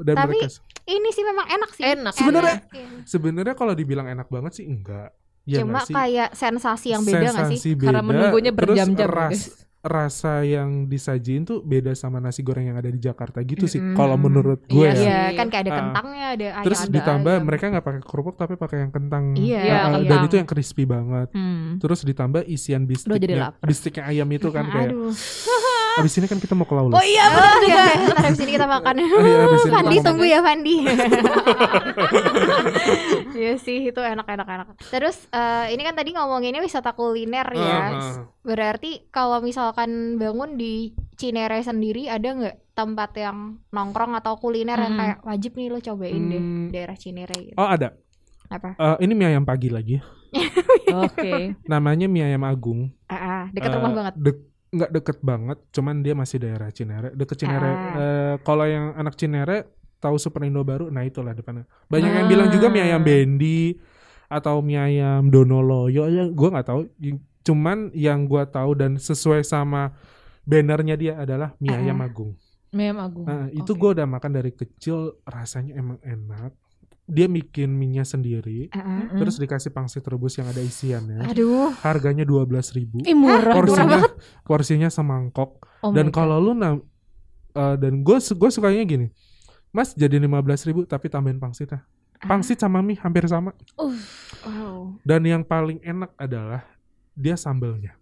S3: dan
S2: Tapi-
S3: mereka su-
S2: (laughs) ini sih memang enak sih
S1: Enak.
S3: Sebenarnya-
S2: Enak, iya.
S3: sebenarnya kalau dibilang enak banget sih enggak
S2: cuma
S3: ya
S1: Iya
S3: nggak sih?
S2: kayak sensasi yang beda nggak sih
S3: Sensasi
S1: Karena menunggunya
S3: terus
S1: berjam-jam ya,
S3: ras
S1: guys.
S3: rasa yang disajin tuh beda sama nasi goreng yang ada di Jakarta gitu sih.
S2: Mm-mm.
S3: Kalau menurut gue
S1: Iya
S3: ya.
S1: sih.
S2: Iya, kan kayak ada
S3: Ah.
S2: kentangnya, ada ayam,
S3: Terus
S2: ada
S3: ditambah
S2: ayam.
S3: mereka nggak pakai kerupuk tapi pakai yang kentang.
S2: Iya,
S3: Ah, ah,
S1: kentang.
S3: dan itu yang crispy banget.
S1: Hmm.
S3: (laughs) Terus ditambah isian
S1: jadi
S3: bistiknya,
S1: lapar.
S3: bistiknya ayam itu kan kayak.
S2: Aduh.
S3: Abis ini kan kita mau ke Laules.
S1: Oh iya benar
S2: Oh,
S1: juga.
S2: juga. (laughs) Ntar habis ini kita makan.
S3: Iya, abis ini
S2: Fandi
S3: kita mau-
S2: tunggu ya Fandi. (laughs) Iya sih itu enak-enak enak. Terus eh, ini kan tadi ngomonginnya wisata kuliner ya.
S3: Ah, ah.
S2: Berarti kalau misalkan bangun di Cinere sendiri ada nggak tempat yang nongkrong atau kuliner yang
S1: Mm.
S2: kayak wajib nih lo cobain deh
S3: Hmm.
S2: daerah Cinere gitu.
S3: Oh ada.
S2: Apa?
S3: Eh, ini mie ayam pagi lagi.
S1: Oke.
S3: Namanya mie ayam Agung.
S2: Ah, ah, dekat
S3: Eh,
S2: rumah banget.
S3: dek- nggak deket banget, cuman dia masih daerah Cinere. Deket Cinere.
S2: Ah.
S3: Eh, Kalau yang anak Cinere tahu Superindo baru, nah itulah depannya. Banyak yang
S1: Ah.
S3: bilang juga mie ayam Bendi atau mie ayam Donoloyo. Ya, gue nggak tahu. Y- Cuman yang gua tahu dan sesuai sama bannernya dia adalah mie
S2: Ah. Oh,
S3: ayam Agung.
S1: Mem Agung.
S3: Nah, itu
S2: oke.
S3: gua udah makan dari kecil, rasanya emang enak. Dia bikin minyak sendiri,
S2: Ah, ah.
S1: Mm.
S3: terus dikasih pangsit rebus yang ada isiannya.
S2: Aduh,
S3: Harganya 12.000.
S1: Ih, murah
S2: Hah? Porsi-
S1: dong.
S3: Porsinya porsinya semangkok.
S1: Oh my
S3: dan
S1: God.
S3: kalau lu na- eh, dan gue gue sukanya gini. Mas jadi 15.000 tapi tambahin pangsitnya.
S1: Ah.
S3: Pangsit sama mie hampir sama.
S2: wow.
S3: Dan yang paling enak adalah dia sambelnya.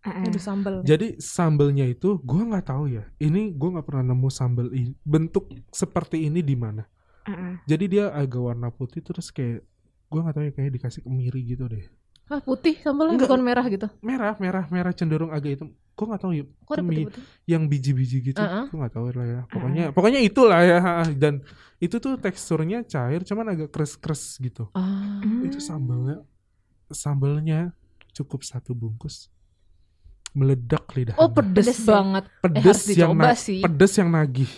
S2: Ah, ah.
S1: aduh sambel.
S3: Jadi sambelnya itu gua nggak tahu ya. Ini gua nggak pernah nemu sambel i- bentuk seperti ini di mana.
S2: Ah, ah.
S3: Jadi dia agak warna putih terus kayak gua nggak tahu ya kayak dikasih kemiri gitu deh.
S1: Hah, Ah, putih sambelnya
S3: Enggak.
S1: bukan merah gitu.
S3: Merah, merah, merah cenderung agak hitam. Gua nggak tahu ya.
S1: Kok ada
S3: Mie.
S1: putih-putih?
S3: yang biji-biji gitu
S1: Heeh.
S3: gue nggak tahu lah ya pokoknya pokoknya itulah ya (laughs) ha, ha. dan itu tuh teksturnya cair cuman agak kres-kres gitu
S1: Ah.
S3: itu sambalnya sambalnya cukup satu bungkus meledak lidah
S1: Oh, pedes,
S2: Pedes ya?
S1: banget. Eh, harus
S3: pedes yang
S1: dicoba
S3: na-
S1: sih.
S3: pedes yang nagih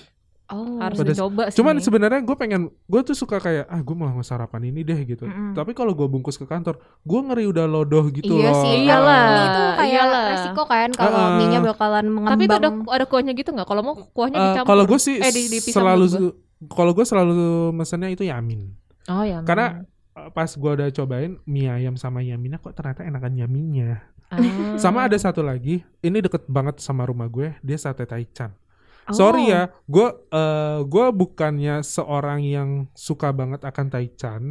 S2: Oh.
S1: Harus
S3: Pedes.
S1: dicoba sih.
S3: cuman sebenarnya gue pengen gue tuh suka kayak ah gue mau sarapan ini deh gitu
S2: Mm-mm.
S3: tapi kalau gue bungkus ke kantor gue ngeri udah lodoh gitu
S2: iya
S3: loh
S2: sih,
S3: Ah.
S1: Iyalah.
S2: mie itu kayak
S1: iyalah.
S2: resiko kan kalau
S3: Ah, ah.
S2: mie-nya bakalan mengembang.
S1: tapi itu ada ada kuahnya gitu nggak? Kalau mau kuahnya
S3: Eh,
S1: dicampur.
S3: kalau gue sih
S1: Eh, di- dipisah
S3: selalu
S1: menurut
S3: kalau gue selalu mesennya itu yamin
S1: oh ya.
S3: Karena- Uh, pas gua udah cobain mie ayam sama yaminnya kok ternyata enakan yaminnya
S1: Ah.
S3: (laughs) sama ada satu lagi ini deket banget sama rumah gue dia sate taichan
S2: Oh.
S3: sorry ya gua eh, gua bukannya seorang yang suka banget akan taichan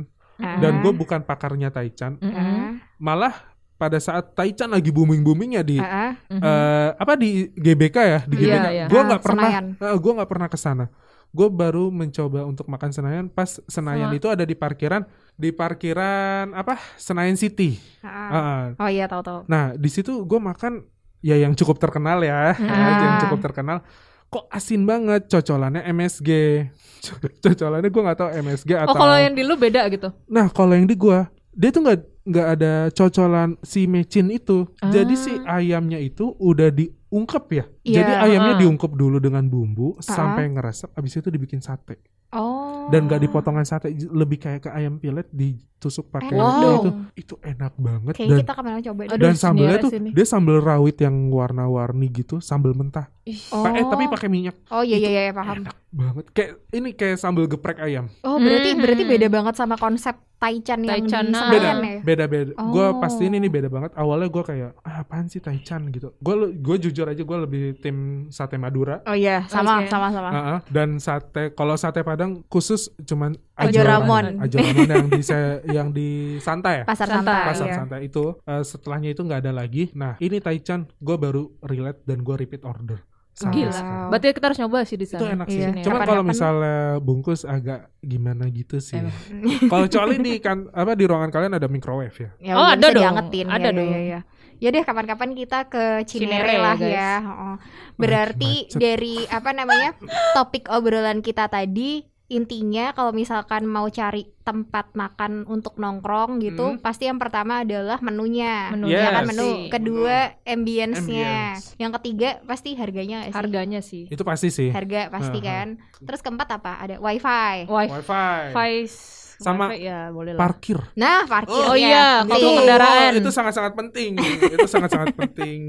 S2: Ah.
S1: Eh.
S3: dan gue bukan pakarnya taichan
S1: Mm-mm.
S2: Ah,
S3: malah pada saat taichan lagi booming boomingnya di
S2: ah, ah.
S1: Mhm.
S3: eh, apa di GBK ya di
S1: Iya,
S3: GBK
S1: iya.
S3: gue
S2: Ah,
S3: nggak pernah
S2: Senayan.
S3: Nah, gue nggak pernah ke sana. Gue baru mencoba untuk makan Senayan pas Senayan
S1: Sama-
S3: itu ada di parkiran di parkiran apa Senayan City.
S2: Ah, ah.
S3: Ah,
S2: Oh iya tahu tahu.
S3: Nah di situ gue makan ya yang cukup terkenal ya,
S1: Ah.
S3: (laughs) yang cukup terkenal. Kok asin banget cocolannya MSG. Co- (laughs) Cocolannya gue nggak tahu MSG atau.
S1: Oh kalau yang di lu beda gitu.
S3: Nah kalau yang di gue dia tuh nggak nggak ada cocolan si mecin itu. Jadi
S1: Ah.
S3: si ayamnya itu udah diungkep ya.
S2: Iya,
S3: Jadi ayamnya
S1: ah.
S3: diungkep dulu dengan bumbu sampai ngeresep. Abis itu dibikin sate
S2: Oh.
S3: dan nggak dipotongan sate j- lebih kayak ke ayam pilet ditusuk pakai
S2: Enak gitu.
S3: Nah, itu
S1: dong.
S3: itu enak banget
S2: Eh, Kayaknya
S3: dan
S2: kita kemana coba deh.
S1: Aduh,
S3: dan sambelnya
S1: sendiri
S3: tuh
S1: sini.
S3: dia sambel rawit yang warna-warni gitu sambel mentah
S1: Ih.
S3: Pa- eh, tapi
S2: Oh.
S3: pakai minyak
S2: Oh iya
S3: itu-
S2: iya iya paham.
S3: banget kayak ini kayak sambel geprek ayam
S2: Oh berarti
S1: Mhm.
S2: berarti beda banget sama konsep Taichan yang
S1: Taichan,
S2: di
S1: nah.
S2: Senayan
S1: Beda.
S2: ya.
S3: beda beda gue
S2: Oh.
S3: pasti ini nih beda banget awalnya gue kayak ah, apaan sih taichan gitu gue gue jujur aja gue lebih tim sate madura
S2: Oh iya sama
S1: Oke.
S2: sama sama.
S3: Ah, ah. dan sate kalau sate padang khusus cuman
S2: Ajo Ramon.
S3: ajo ramon yang di
S2: (laughs)
S3: se- yang di santai ya
S2: Pasar
S1: Santai.
S2: santai.
S3: pasar
S2: iya.
S3: santai itu eh, setelahnya itu nggak ada lagi nah ini Taichan gue baru relate dan gue repeat order sama
S1: Gila.
S3: sekali.
S1: Berarti kita harus nyoba sih di
S3: itu
S1: sana.
S3: enak sih
S2: Iya.
S3: cuman
S2: Kapan-kapan.
S3: kalau misalnya bungkus agak gimana gitu sih
S1: Emang.
S3: (laughs)
S2: Iya.
S3: kalau kecuali di kan apa di ruangan kalian ada microwave ya
S2: Ya,
S1: Oh, ada
S2: udah bisa
S1: dong.
S2: diangetin.
S1: Ada
S2: ya,
S1: dong.
S2: Ya, ya. ya deh kapan-kapan kita ke Cinere,
S1: Cinere ya,
S2: lah
S1: guys.
S2: ya. Oh. Berarti
S3: macet.
S2: dari apa namanya topik obrolan kita tadi intinya kalau misalkan mau cari tempat makan untuk nongkrong gitu pasti yang pertama adalah menunya.
S1: Menunya
S3: Yes.
S2: Ya kan
S1: pasti.
S2: menu. Kedua ambience-nya.
S3: Ambience.
S2: Yang ketiga pasti harganya nggak sih?
S1: harganya sih.
S2: Iya.
S3: itu pasti sih
S2: Harga
S1: Oh.
S2: pasti
S3: Aha.
S2: kan. Terus keempat apa? Ada wifi.
S1: Wifi
S3: wifi
S1: Vice
S3: Sama
S1: Wifi, ya boleh lah.
S3: parkir.
S2: Nah, parkir
S1: Oh iya,
S3: Itu,
S1: kalau kendaraan.
S3: itu sangat-sangat penting. itu sangat-sangat penting.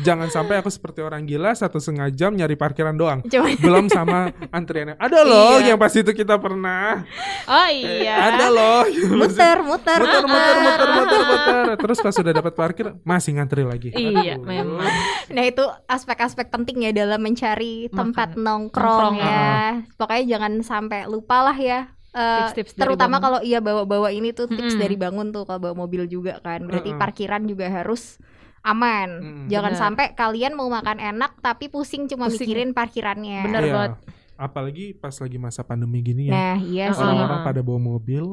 S3: Jangan sampai aku seperti orang gila satu setengah jam nyari parkiran doang.
S2: Cuma
S3: Belum sama antriannya. Ada loh
S1: Iya.
S3: yang pas itu kita pernah.
S1: Oh
S3: Eh,
S1: iya.
S3: Ada loh.
S2: muter, muter.
S3: muter, muter,
S2: Ah.
S3: muter, muter, muter. Terus pas sudah dapat parkir masih ngantri lagi.
S1: Iya,
S3: Aduh.
S1: memang.
S2: Nah, itu aspek-aspek penting ya dalam mencari
S1: Makan.
S2: tempat nongkrong
S1: Nongkrong.
S2: ya. Pokoknya jangan sampai lupa lah ya. Eh,
S1: Tips-tips dari bangun.
S2: terutama kalau iya bawa-bawa ini tuh tips
S1: Mm-mm.
S2: dari bangun tuh kalau bawa mobil juga kan. Berarti
S3: Mm-mm.
S2: parkiran juga harus aman.
S3: Mm-mm.
S2: Jangan
S1: Benar.
S2: sampai kalian mau makan enak tapi pusing cuma
S1: Pusing.
S2: mikirin parkirannya.
S1: Benar
S3: Iya.
S1: banget.
S3: Apalagi pas lagi masa pandemi gini ya.
S2: Nah, iya sih.
S1: Heeh.
S3: Orang-orang pada bawa mobil,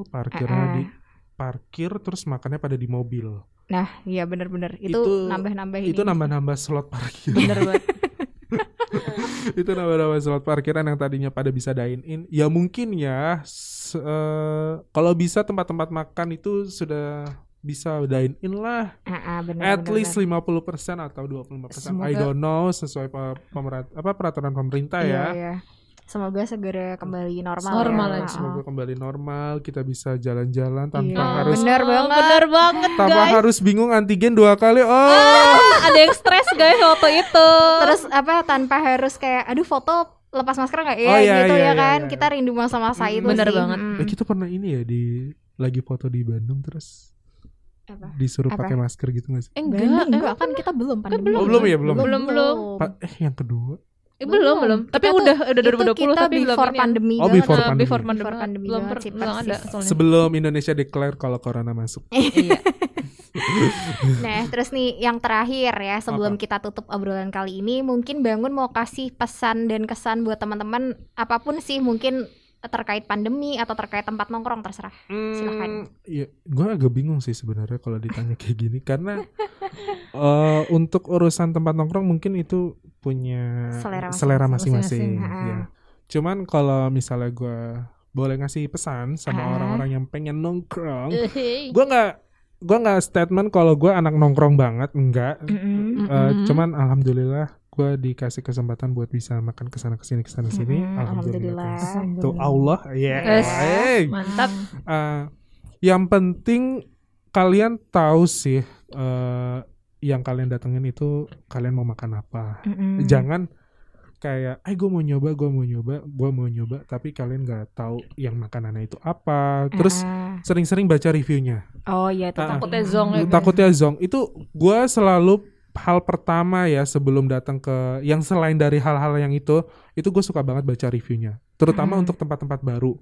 S1: Eh,
S3: parkirnya
S2: Ah, ah.
S3: di parkir terus makannya pada di mobil.
S2: Nah, iya benar-benar itu,
S3: Itu-
S2: nambah-nambah ini.
S3: Itu
S1: Iya.
S3: nambah-nambah slot parkir.
S1: Bener
S3: (laughs)
S1: banget.
S3: itu nambah-nambah slot parkiran yang tadinya pada bisa dine in. Ya mungkin ya se- eh, kalau bisa tempat-tempat makan itu sudah bisa dine in lah
S2: Heeh, benar.
S3: at
S2: benar,
S3: least 50% atau 25%.
S2: Iya,
S3: I
S2: Semoga-
S3: don't know sesuai pe- pemerat- apa peraturan pemerintah
S2: Iya,
S3: ya.
S2: iya. Semoga segera kembali normal.
S1: Normal
S2: ya.
S1: aja.
S3: Semoga kembali normal, kita bisa jalan-jalan tanpa
S2: Iya.
S3: harus
S2: Bener banget.
S1: Oh, Bener banget
S3: tanpa
S1: guys.
S3: harus bingung antigen dua kali. Oh.
S1: Ah, ada yang stres guys waktu itu.
S2: Terus apa tanpa harus kayak aduh foto lepas masker nggak ya
S3: Oh, iya,
S2: gitu
S3: iya,
S2: ya
S3: iya,
S2: kan
S3: iya.
S2: kita rindu masa-masa
S3: Mm,
S2: itu
S1: bener
S2: sih.
S1: banget.
S2: Mm.
S3: Eh, kita pernah ini ya di lagi foto di Bandung terus
S2: Apa?
S3: disuruh
S2: Apa?
S3: pakai masker gitu nggak sih?
S1: Eh,
S2: Enggak,
S1: enggak,
S2: enggak
S1: eh,
S2: kan kita belum
S1: belum.
S2: pandemi.
S3: Oh, belum ya, belum.
S1: Belum, belum.
S3: Pa- eh yang kedua.
S1: eh, belum belum. Tapi
S2: Kita
S1: udah udah
S2: Itu
S1: 2020
S2: kita
S1: tapi belum
S2: before
S1: ini.
S2: pandemi
S3: Oh,
S2: banget.
S3: before
S1: Nah,
S3: pandemi.
S1: before pandemi,
S2: Before pandemi
S1: belum
S2: banget
S1: per,
S2: sih,
S1: belum
S2: persis.
S1: ada soalnya.
S3: Sebelum Indonesia declare kalau corona masuk. (laughs)
S1: iya.
S2: (laughs) Nah, terus nih yang terakhir ya sebelum
S3: Apa?
S2: kita tutup obrolan kali ini, mungkin Bangun mau kasih pesan dan kesan buat teman-teman apapun sih mungkin terkait pandemi atau terkait tempat nongkrong terserah. Silakan.
S3: Iya, gue agak bingung sih sebenarnya kalau ditanya (laughs) kayak gini karena eh, untuk urusan tempat nongkrong mungkin itu punya
S2: Selera
S3: selera
S1: masing-masing.
S3: masing-masing.
S2: Masing-masing,
S3: ya. Cuman kalau misalnya gue boleh ngasih pesan
S2: Ah.
S3: sama orang-orang yang pengen nongkrong,
S1: Eh, hey.
S3: gue nggak gue nggak statement kalau gue anak nongkrong banget enggak Eh,
S1: Mm-mm.
S3: cuman alhamdulillah gue dikasih kesempatan buat bisa makan kesana kesini kesana sini
S2: Mm-mm,
S3: alhamdulillah,
S2: alhamdulillah.
S3: alhamdulillah. Tuh Allah ya
S1: Yes.
S3: Hey.
S1: Ah, Mantap.
S3: Eh, yang penting kalian tahu sih eh, yang kalian datengin itu kalian mau makan apa
S2: Mm-mm.
S3: jangan kayak eh gue mau nyoba gue mau nyoba gue mau nyoba tapi kalian nggak tahu yang makanannya itu apa terus
S2: Ah,
S3: sering-sering baca reviewnya
S2: oh iya itu
S3: Ah.
S1: Takutnya zonk ya,
S3: Lu
S1: Bener.
S3: takutnya zong itu gue selalu hal pertama ya sebelum datang ke yang selain dari hal-hal yang itu itu gue suka banget baca reviewnya terutama
S2: Hmm.
S3: untuk tempat-tempat baru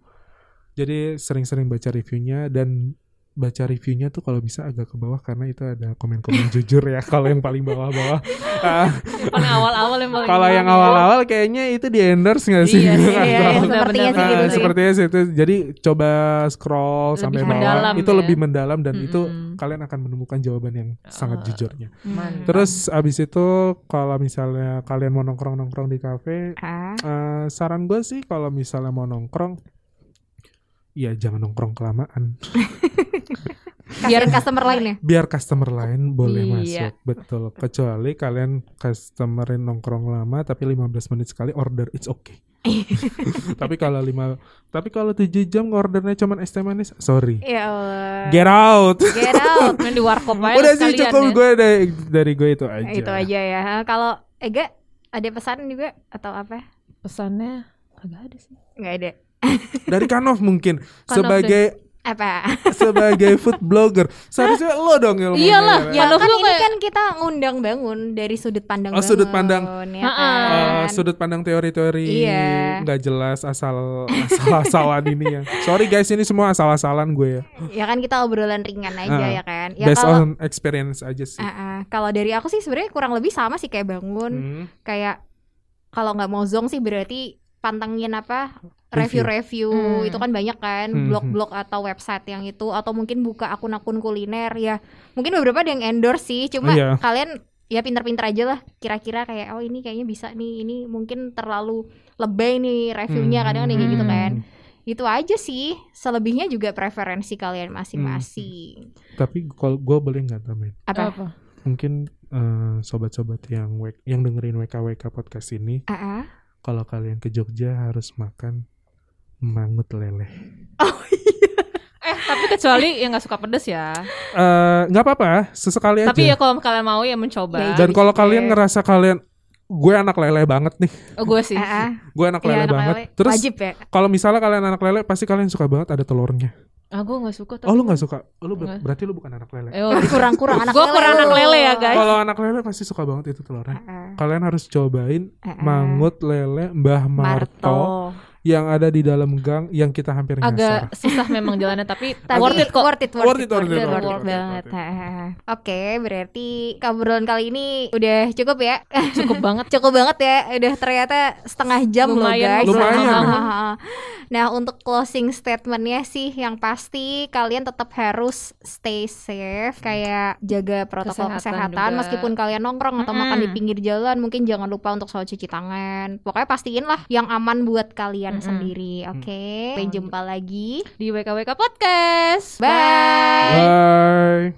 S3: jadi sering-sering baca reviewnya dan baca reviewnya tuh kalau bisa agak ke bawah karena itu ada
S2: (laughs)
S3: komen-komen jujur ya kalau yang paling bawah-bawah Ah,
S1: Yang paling awal-awal yang paling
S3: kalau yang awal-awal kayaknya itu di endorse nggak sih
S1: Iya sih,
S3: Nggak
S2: iya,
S3: tahu.
S2: iya, sepertinya sih gitu
S3: Ah,
S2: sih.
S3: sepertinya sih itu. Jadi coba scroll
S1: Lebih
S3: sampai
S2: mendalam gitu
S3: bawah. Itu
S1: ya.
S3: lebih mendalam dan itu
S1: Mm-mm.
S3: kalian akan menemukan jawaban yang sangat
S1: Ah.
S3: jujurnya.
S1: Hmm. Mantap.
S3: Terus abis itu kalau misalnya kalian mau nongkrong-nongkrong di kafe,
S2: Ah,
S3: eh, saran gue sih kalau misalnya mau nongkrong, ya jangan nongkrong kelamaan.
S2: kasihan customer lain ya.
S3: Biar customer lain boleh
S1: Iya.
S3: masuk, betul. Kecuali kalian customerin nongkrong lama tapi 15 menit sekali order, it's
S1: (laughs)
S3: okay. tapi kalau lima tapi kalau 7 jam ordernya cuman es teh manis, sorry.
S2: Ya Allah.
S3: Get out.
S2: Get out.
S1: Main di warkop aja
S3: Udah sih
S1: Iya. sekalian
S3: cukup
S1: ya.
S3: gue dari, dari gue itu aja.
S2: itu (laughs) aja ya. Ah, Kalau Ega ada pesan juga atau apa?
S1: Pesannya agak ada sih.
S2: Nggak ada.
S3: dari Kanov
S2: (laughs)
S3: mungkin
S1: Kanov
S3: sebagai
S2: Apa?
S3: sebagai food blogger seharusnya lo dong yang ngomongnya,
S1: Iyalah,
S3: ya.
S2: Ya
S1: Kalau
S2: kan
S1: lu
S2: ini
S1: kayak-
S2: kan kita ngundang bangun dari sudut pandang
S3: Oh, sudut pandang.
S2: Bangun, ya
S1: Ha-ha.
S3: Eh,
S2: kan?
S3: sudut pandang teori-teori
S2: Iya.
S3: nggak jelas asal asal-asalan ini ya. Sorry guys, ini semua asal-asalan gue ya.
S2: ya kan kita obrolan ringan aja
S3: Ha-ha.
S2: ya kan. Ya
S3: Based
S2: kalau
S3: on experience aja sih.
S2: Ah, ah. kalau dari aku sih sebenarnya kurang lebih sama sih kayak bangun.
S3: Hmm.
S2: Kayak kalau nggak mau zong sih berarti pantengin apa
S3: Review.
S2: review-review
S1: Hmm.
S2: itu kan banyak kan
S3: Hmm,
S2: blog-blog atau website yang itu atau mungkin buka akun-akun kuliner ya. Mungkin beberapa ada yang endorse sih, cuma
S3: Iya.
S2: kalian ya pinter-pinter aja lah kira-kira kayak oh ini kayaknya bisa nih ini mungkin terlalu lebay nih reviewnya kadang ada yang kayak gitu
S1: Hmm.
S2: kan itu aja sih selebihnya juga preferensi kalian masing-masing
S3: Tapi kalau gue boleh nggak tambahin?
S2: apa
S1: Apa?
S3: Mungkin eh, sobat-sobat yang wek- yang dengerin WKWK podcast ini,
S2: Ah, ah.
S3: kalau kalian ke Jogja harus makan mangut lele.
S2: Oh iya.
S1: Eh tapi kecuali yang nggak suka pedes ya.
S3: Eh, nggak apa-apa sesekali
S1: Tapi ya
S3: aja
S1: kalau kalian mau ya mencoba.
S3: dan kalau
S2: Iya.
S3: kalian ngerasa kalian gue anak lele banget nih
S1: Oh, gue sih.
S2: Ah, ah.
S3: gue anak
S2: Iya,
S3: lele
S2: anak
S3: banget
S2: lele.
S3: terus
S2: wajib ya.
S3: kalau misalnya kalian anak lele pasti kalian suka banget ada telurnya
S1: Ah gue nggak suka.
S3: oh lu nggak suka Iya, Oh, lu ber-
S1: Nggak.
S3: berarti lu bukan anak
S2: Eh,
S1: Eh,
S3: lele
S1: oh,
S2: Kurang-kurang
S1: (laughs)
S2: anak
S1: Gua kurang anak
S2: lu.
S1: lele ya, guys.
S3: kalau anak lele pasti suka banget itu telurnya
S2: Ah,
S3: kalian harus cobain
S2: ah, ah, ah.
S3: mangut lele mbah
S2: Marto.
S3: marto, yang ada di dalam gang yang kita hampir
S2: eh.
S3: nyasar
S1: agak susah memang jalannya tapi,
S2: Tapi
S1: worth it kok.
S2: Worth it,
S3: Worth it,
S2: worth
S3: worth it,
S1: worth it,
S2: it
S1: worth it,
S2: banget.
S3: worth it.
S2: Ah, ah, ah. Oke, berarti kabrolan kali ini udah cukup ya.
S1: Cukup banget.
S2: cukup banget ya udah ternyata setengah jam
S1: Lumayan,
S2: loh guys (laughs)
S3: lumayan. Lumayan.
S2: Hahaha. nah untuk closing statementnya sih yang pasti kalian tetap harus stay safe kayak jaga protokol
S1: Kesehatan
S2: kesehatan,
S1: juga.
S2: meskipun kalian nongkrong atau makan di
S1: Mm-mm.
S2: pinggir jalan mungkin jangan lupa untuk selalu cuci tangan pokoknya pastiin lah yang aman buat kalian
S1: Mm-mm.
S2: sendiri oke sampai jumpa lagi
S1: Di WKWK Podcast.
S2: Bye.
S3: bye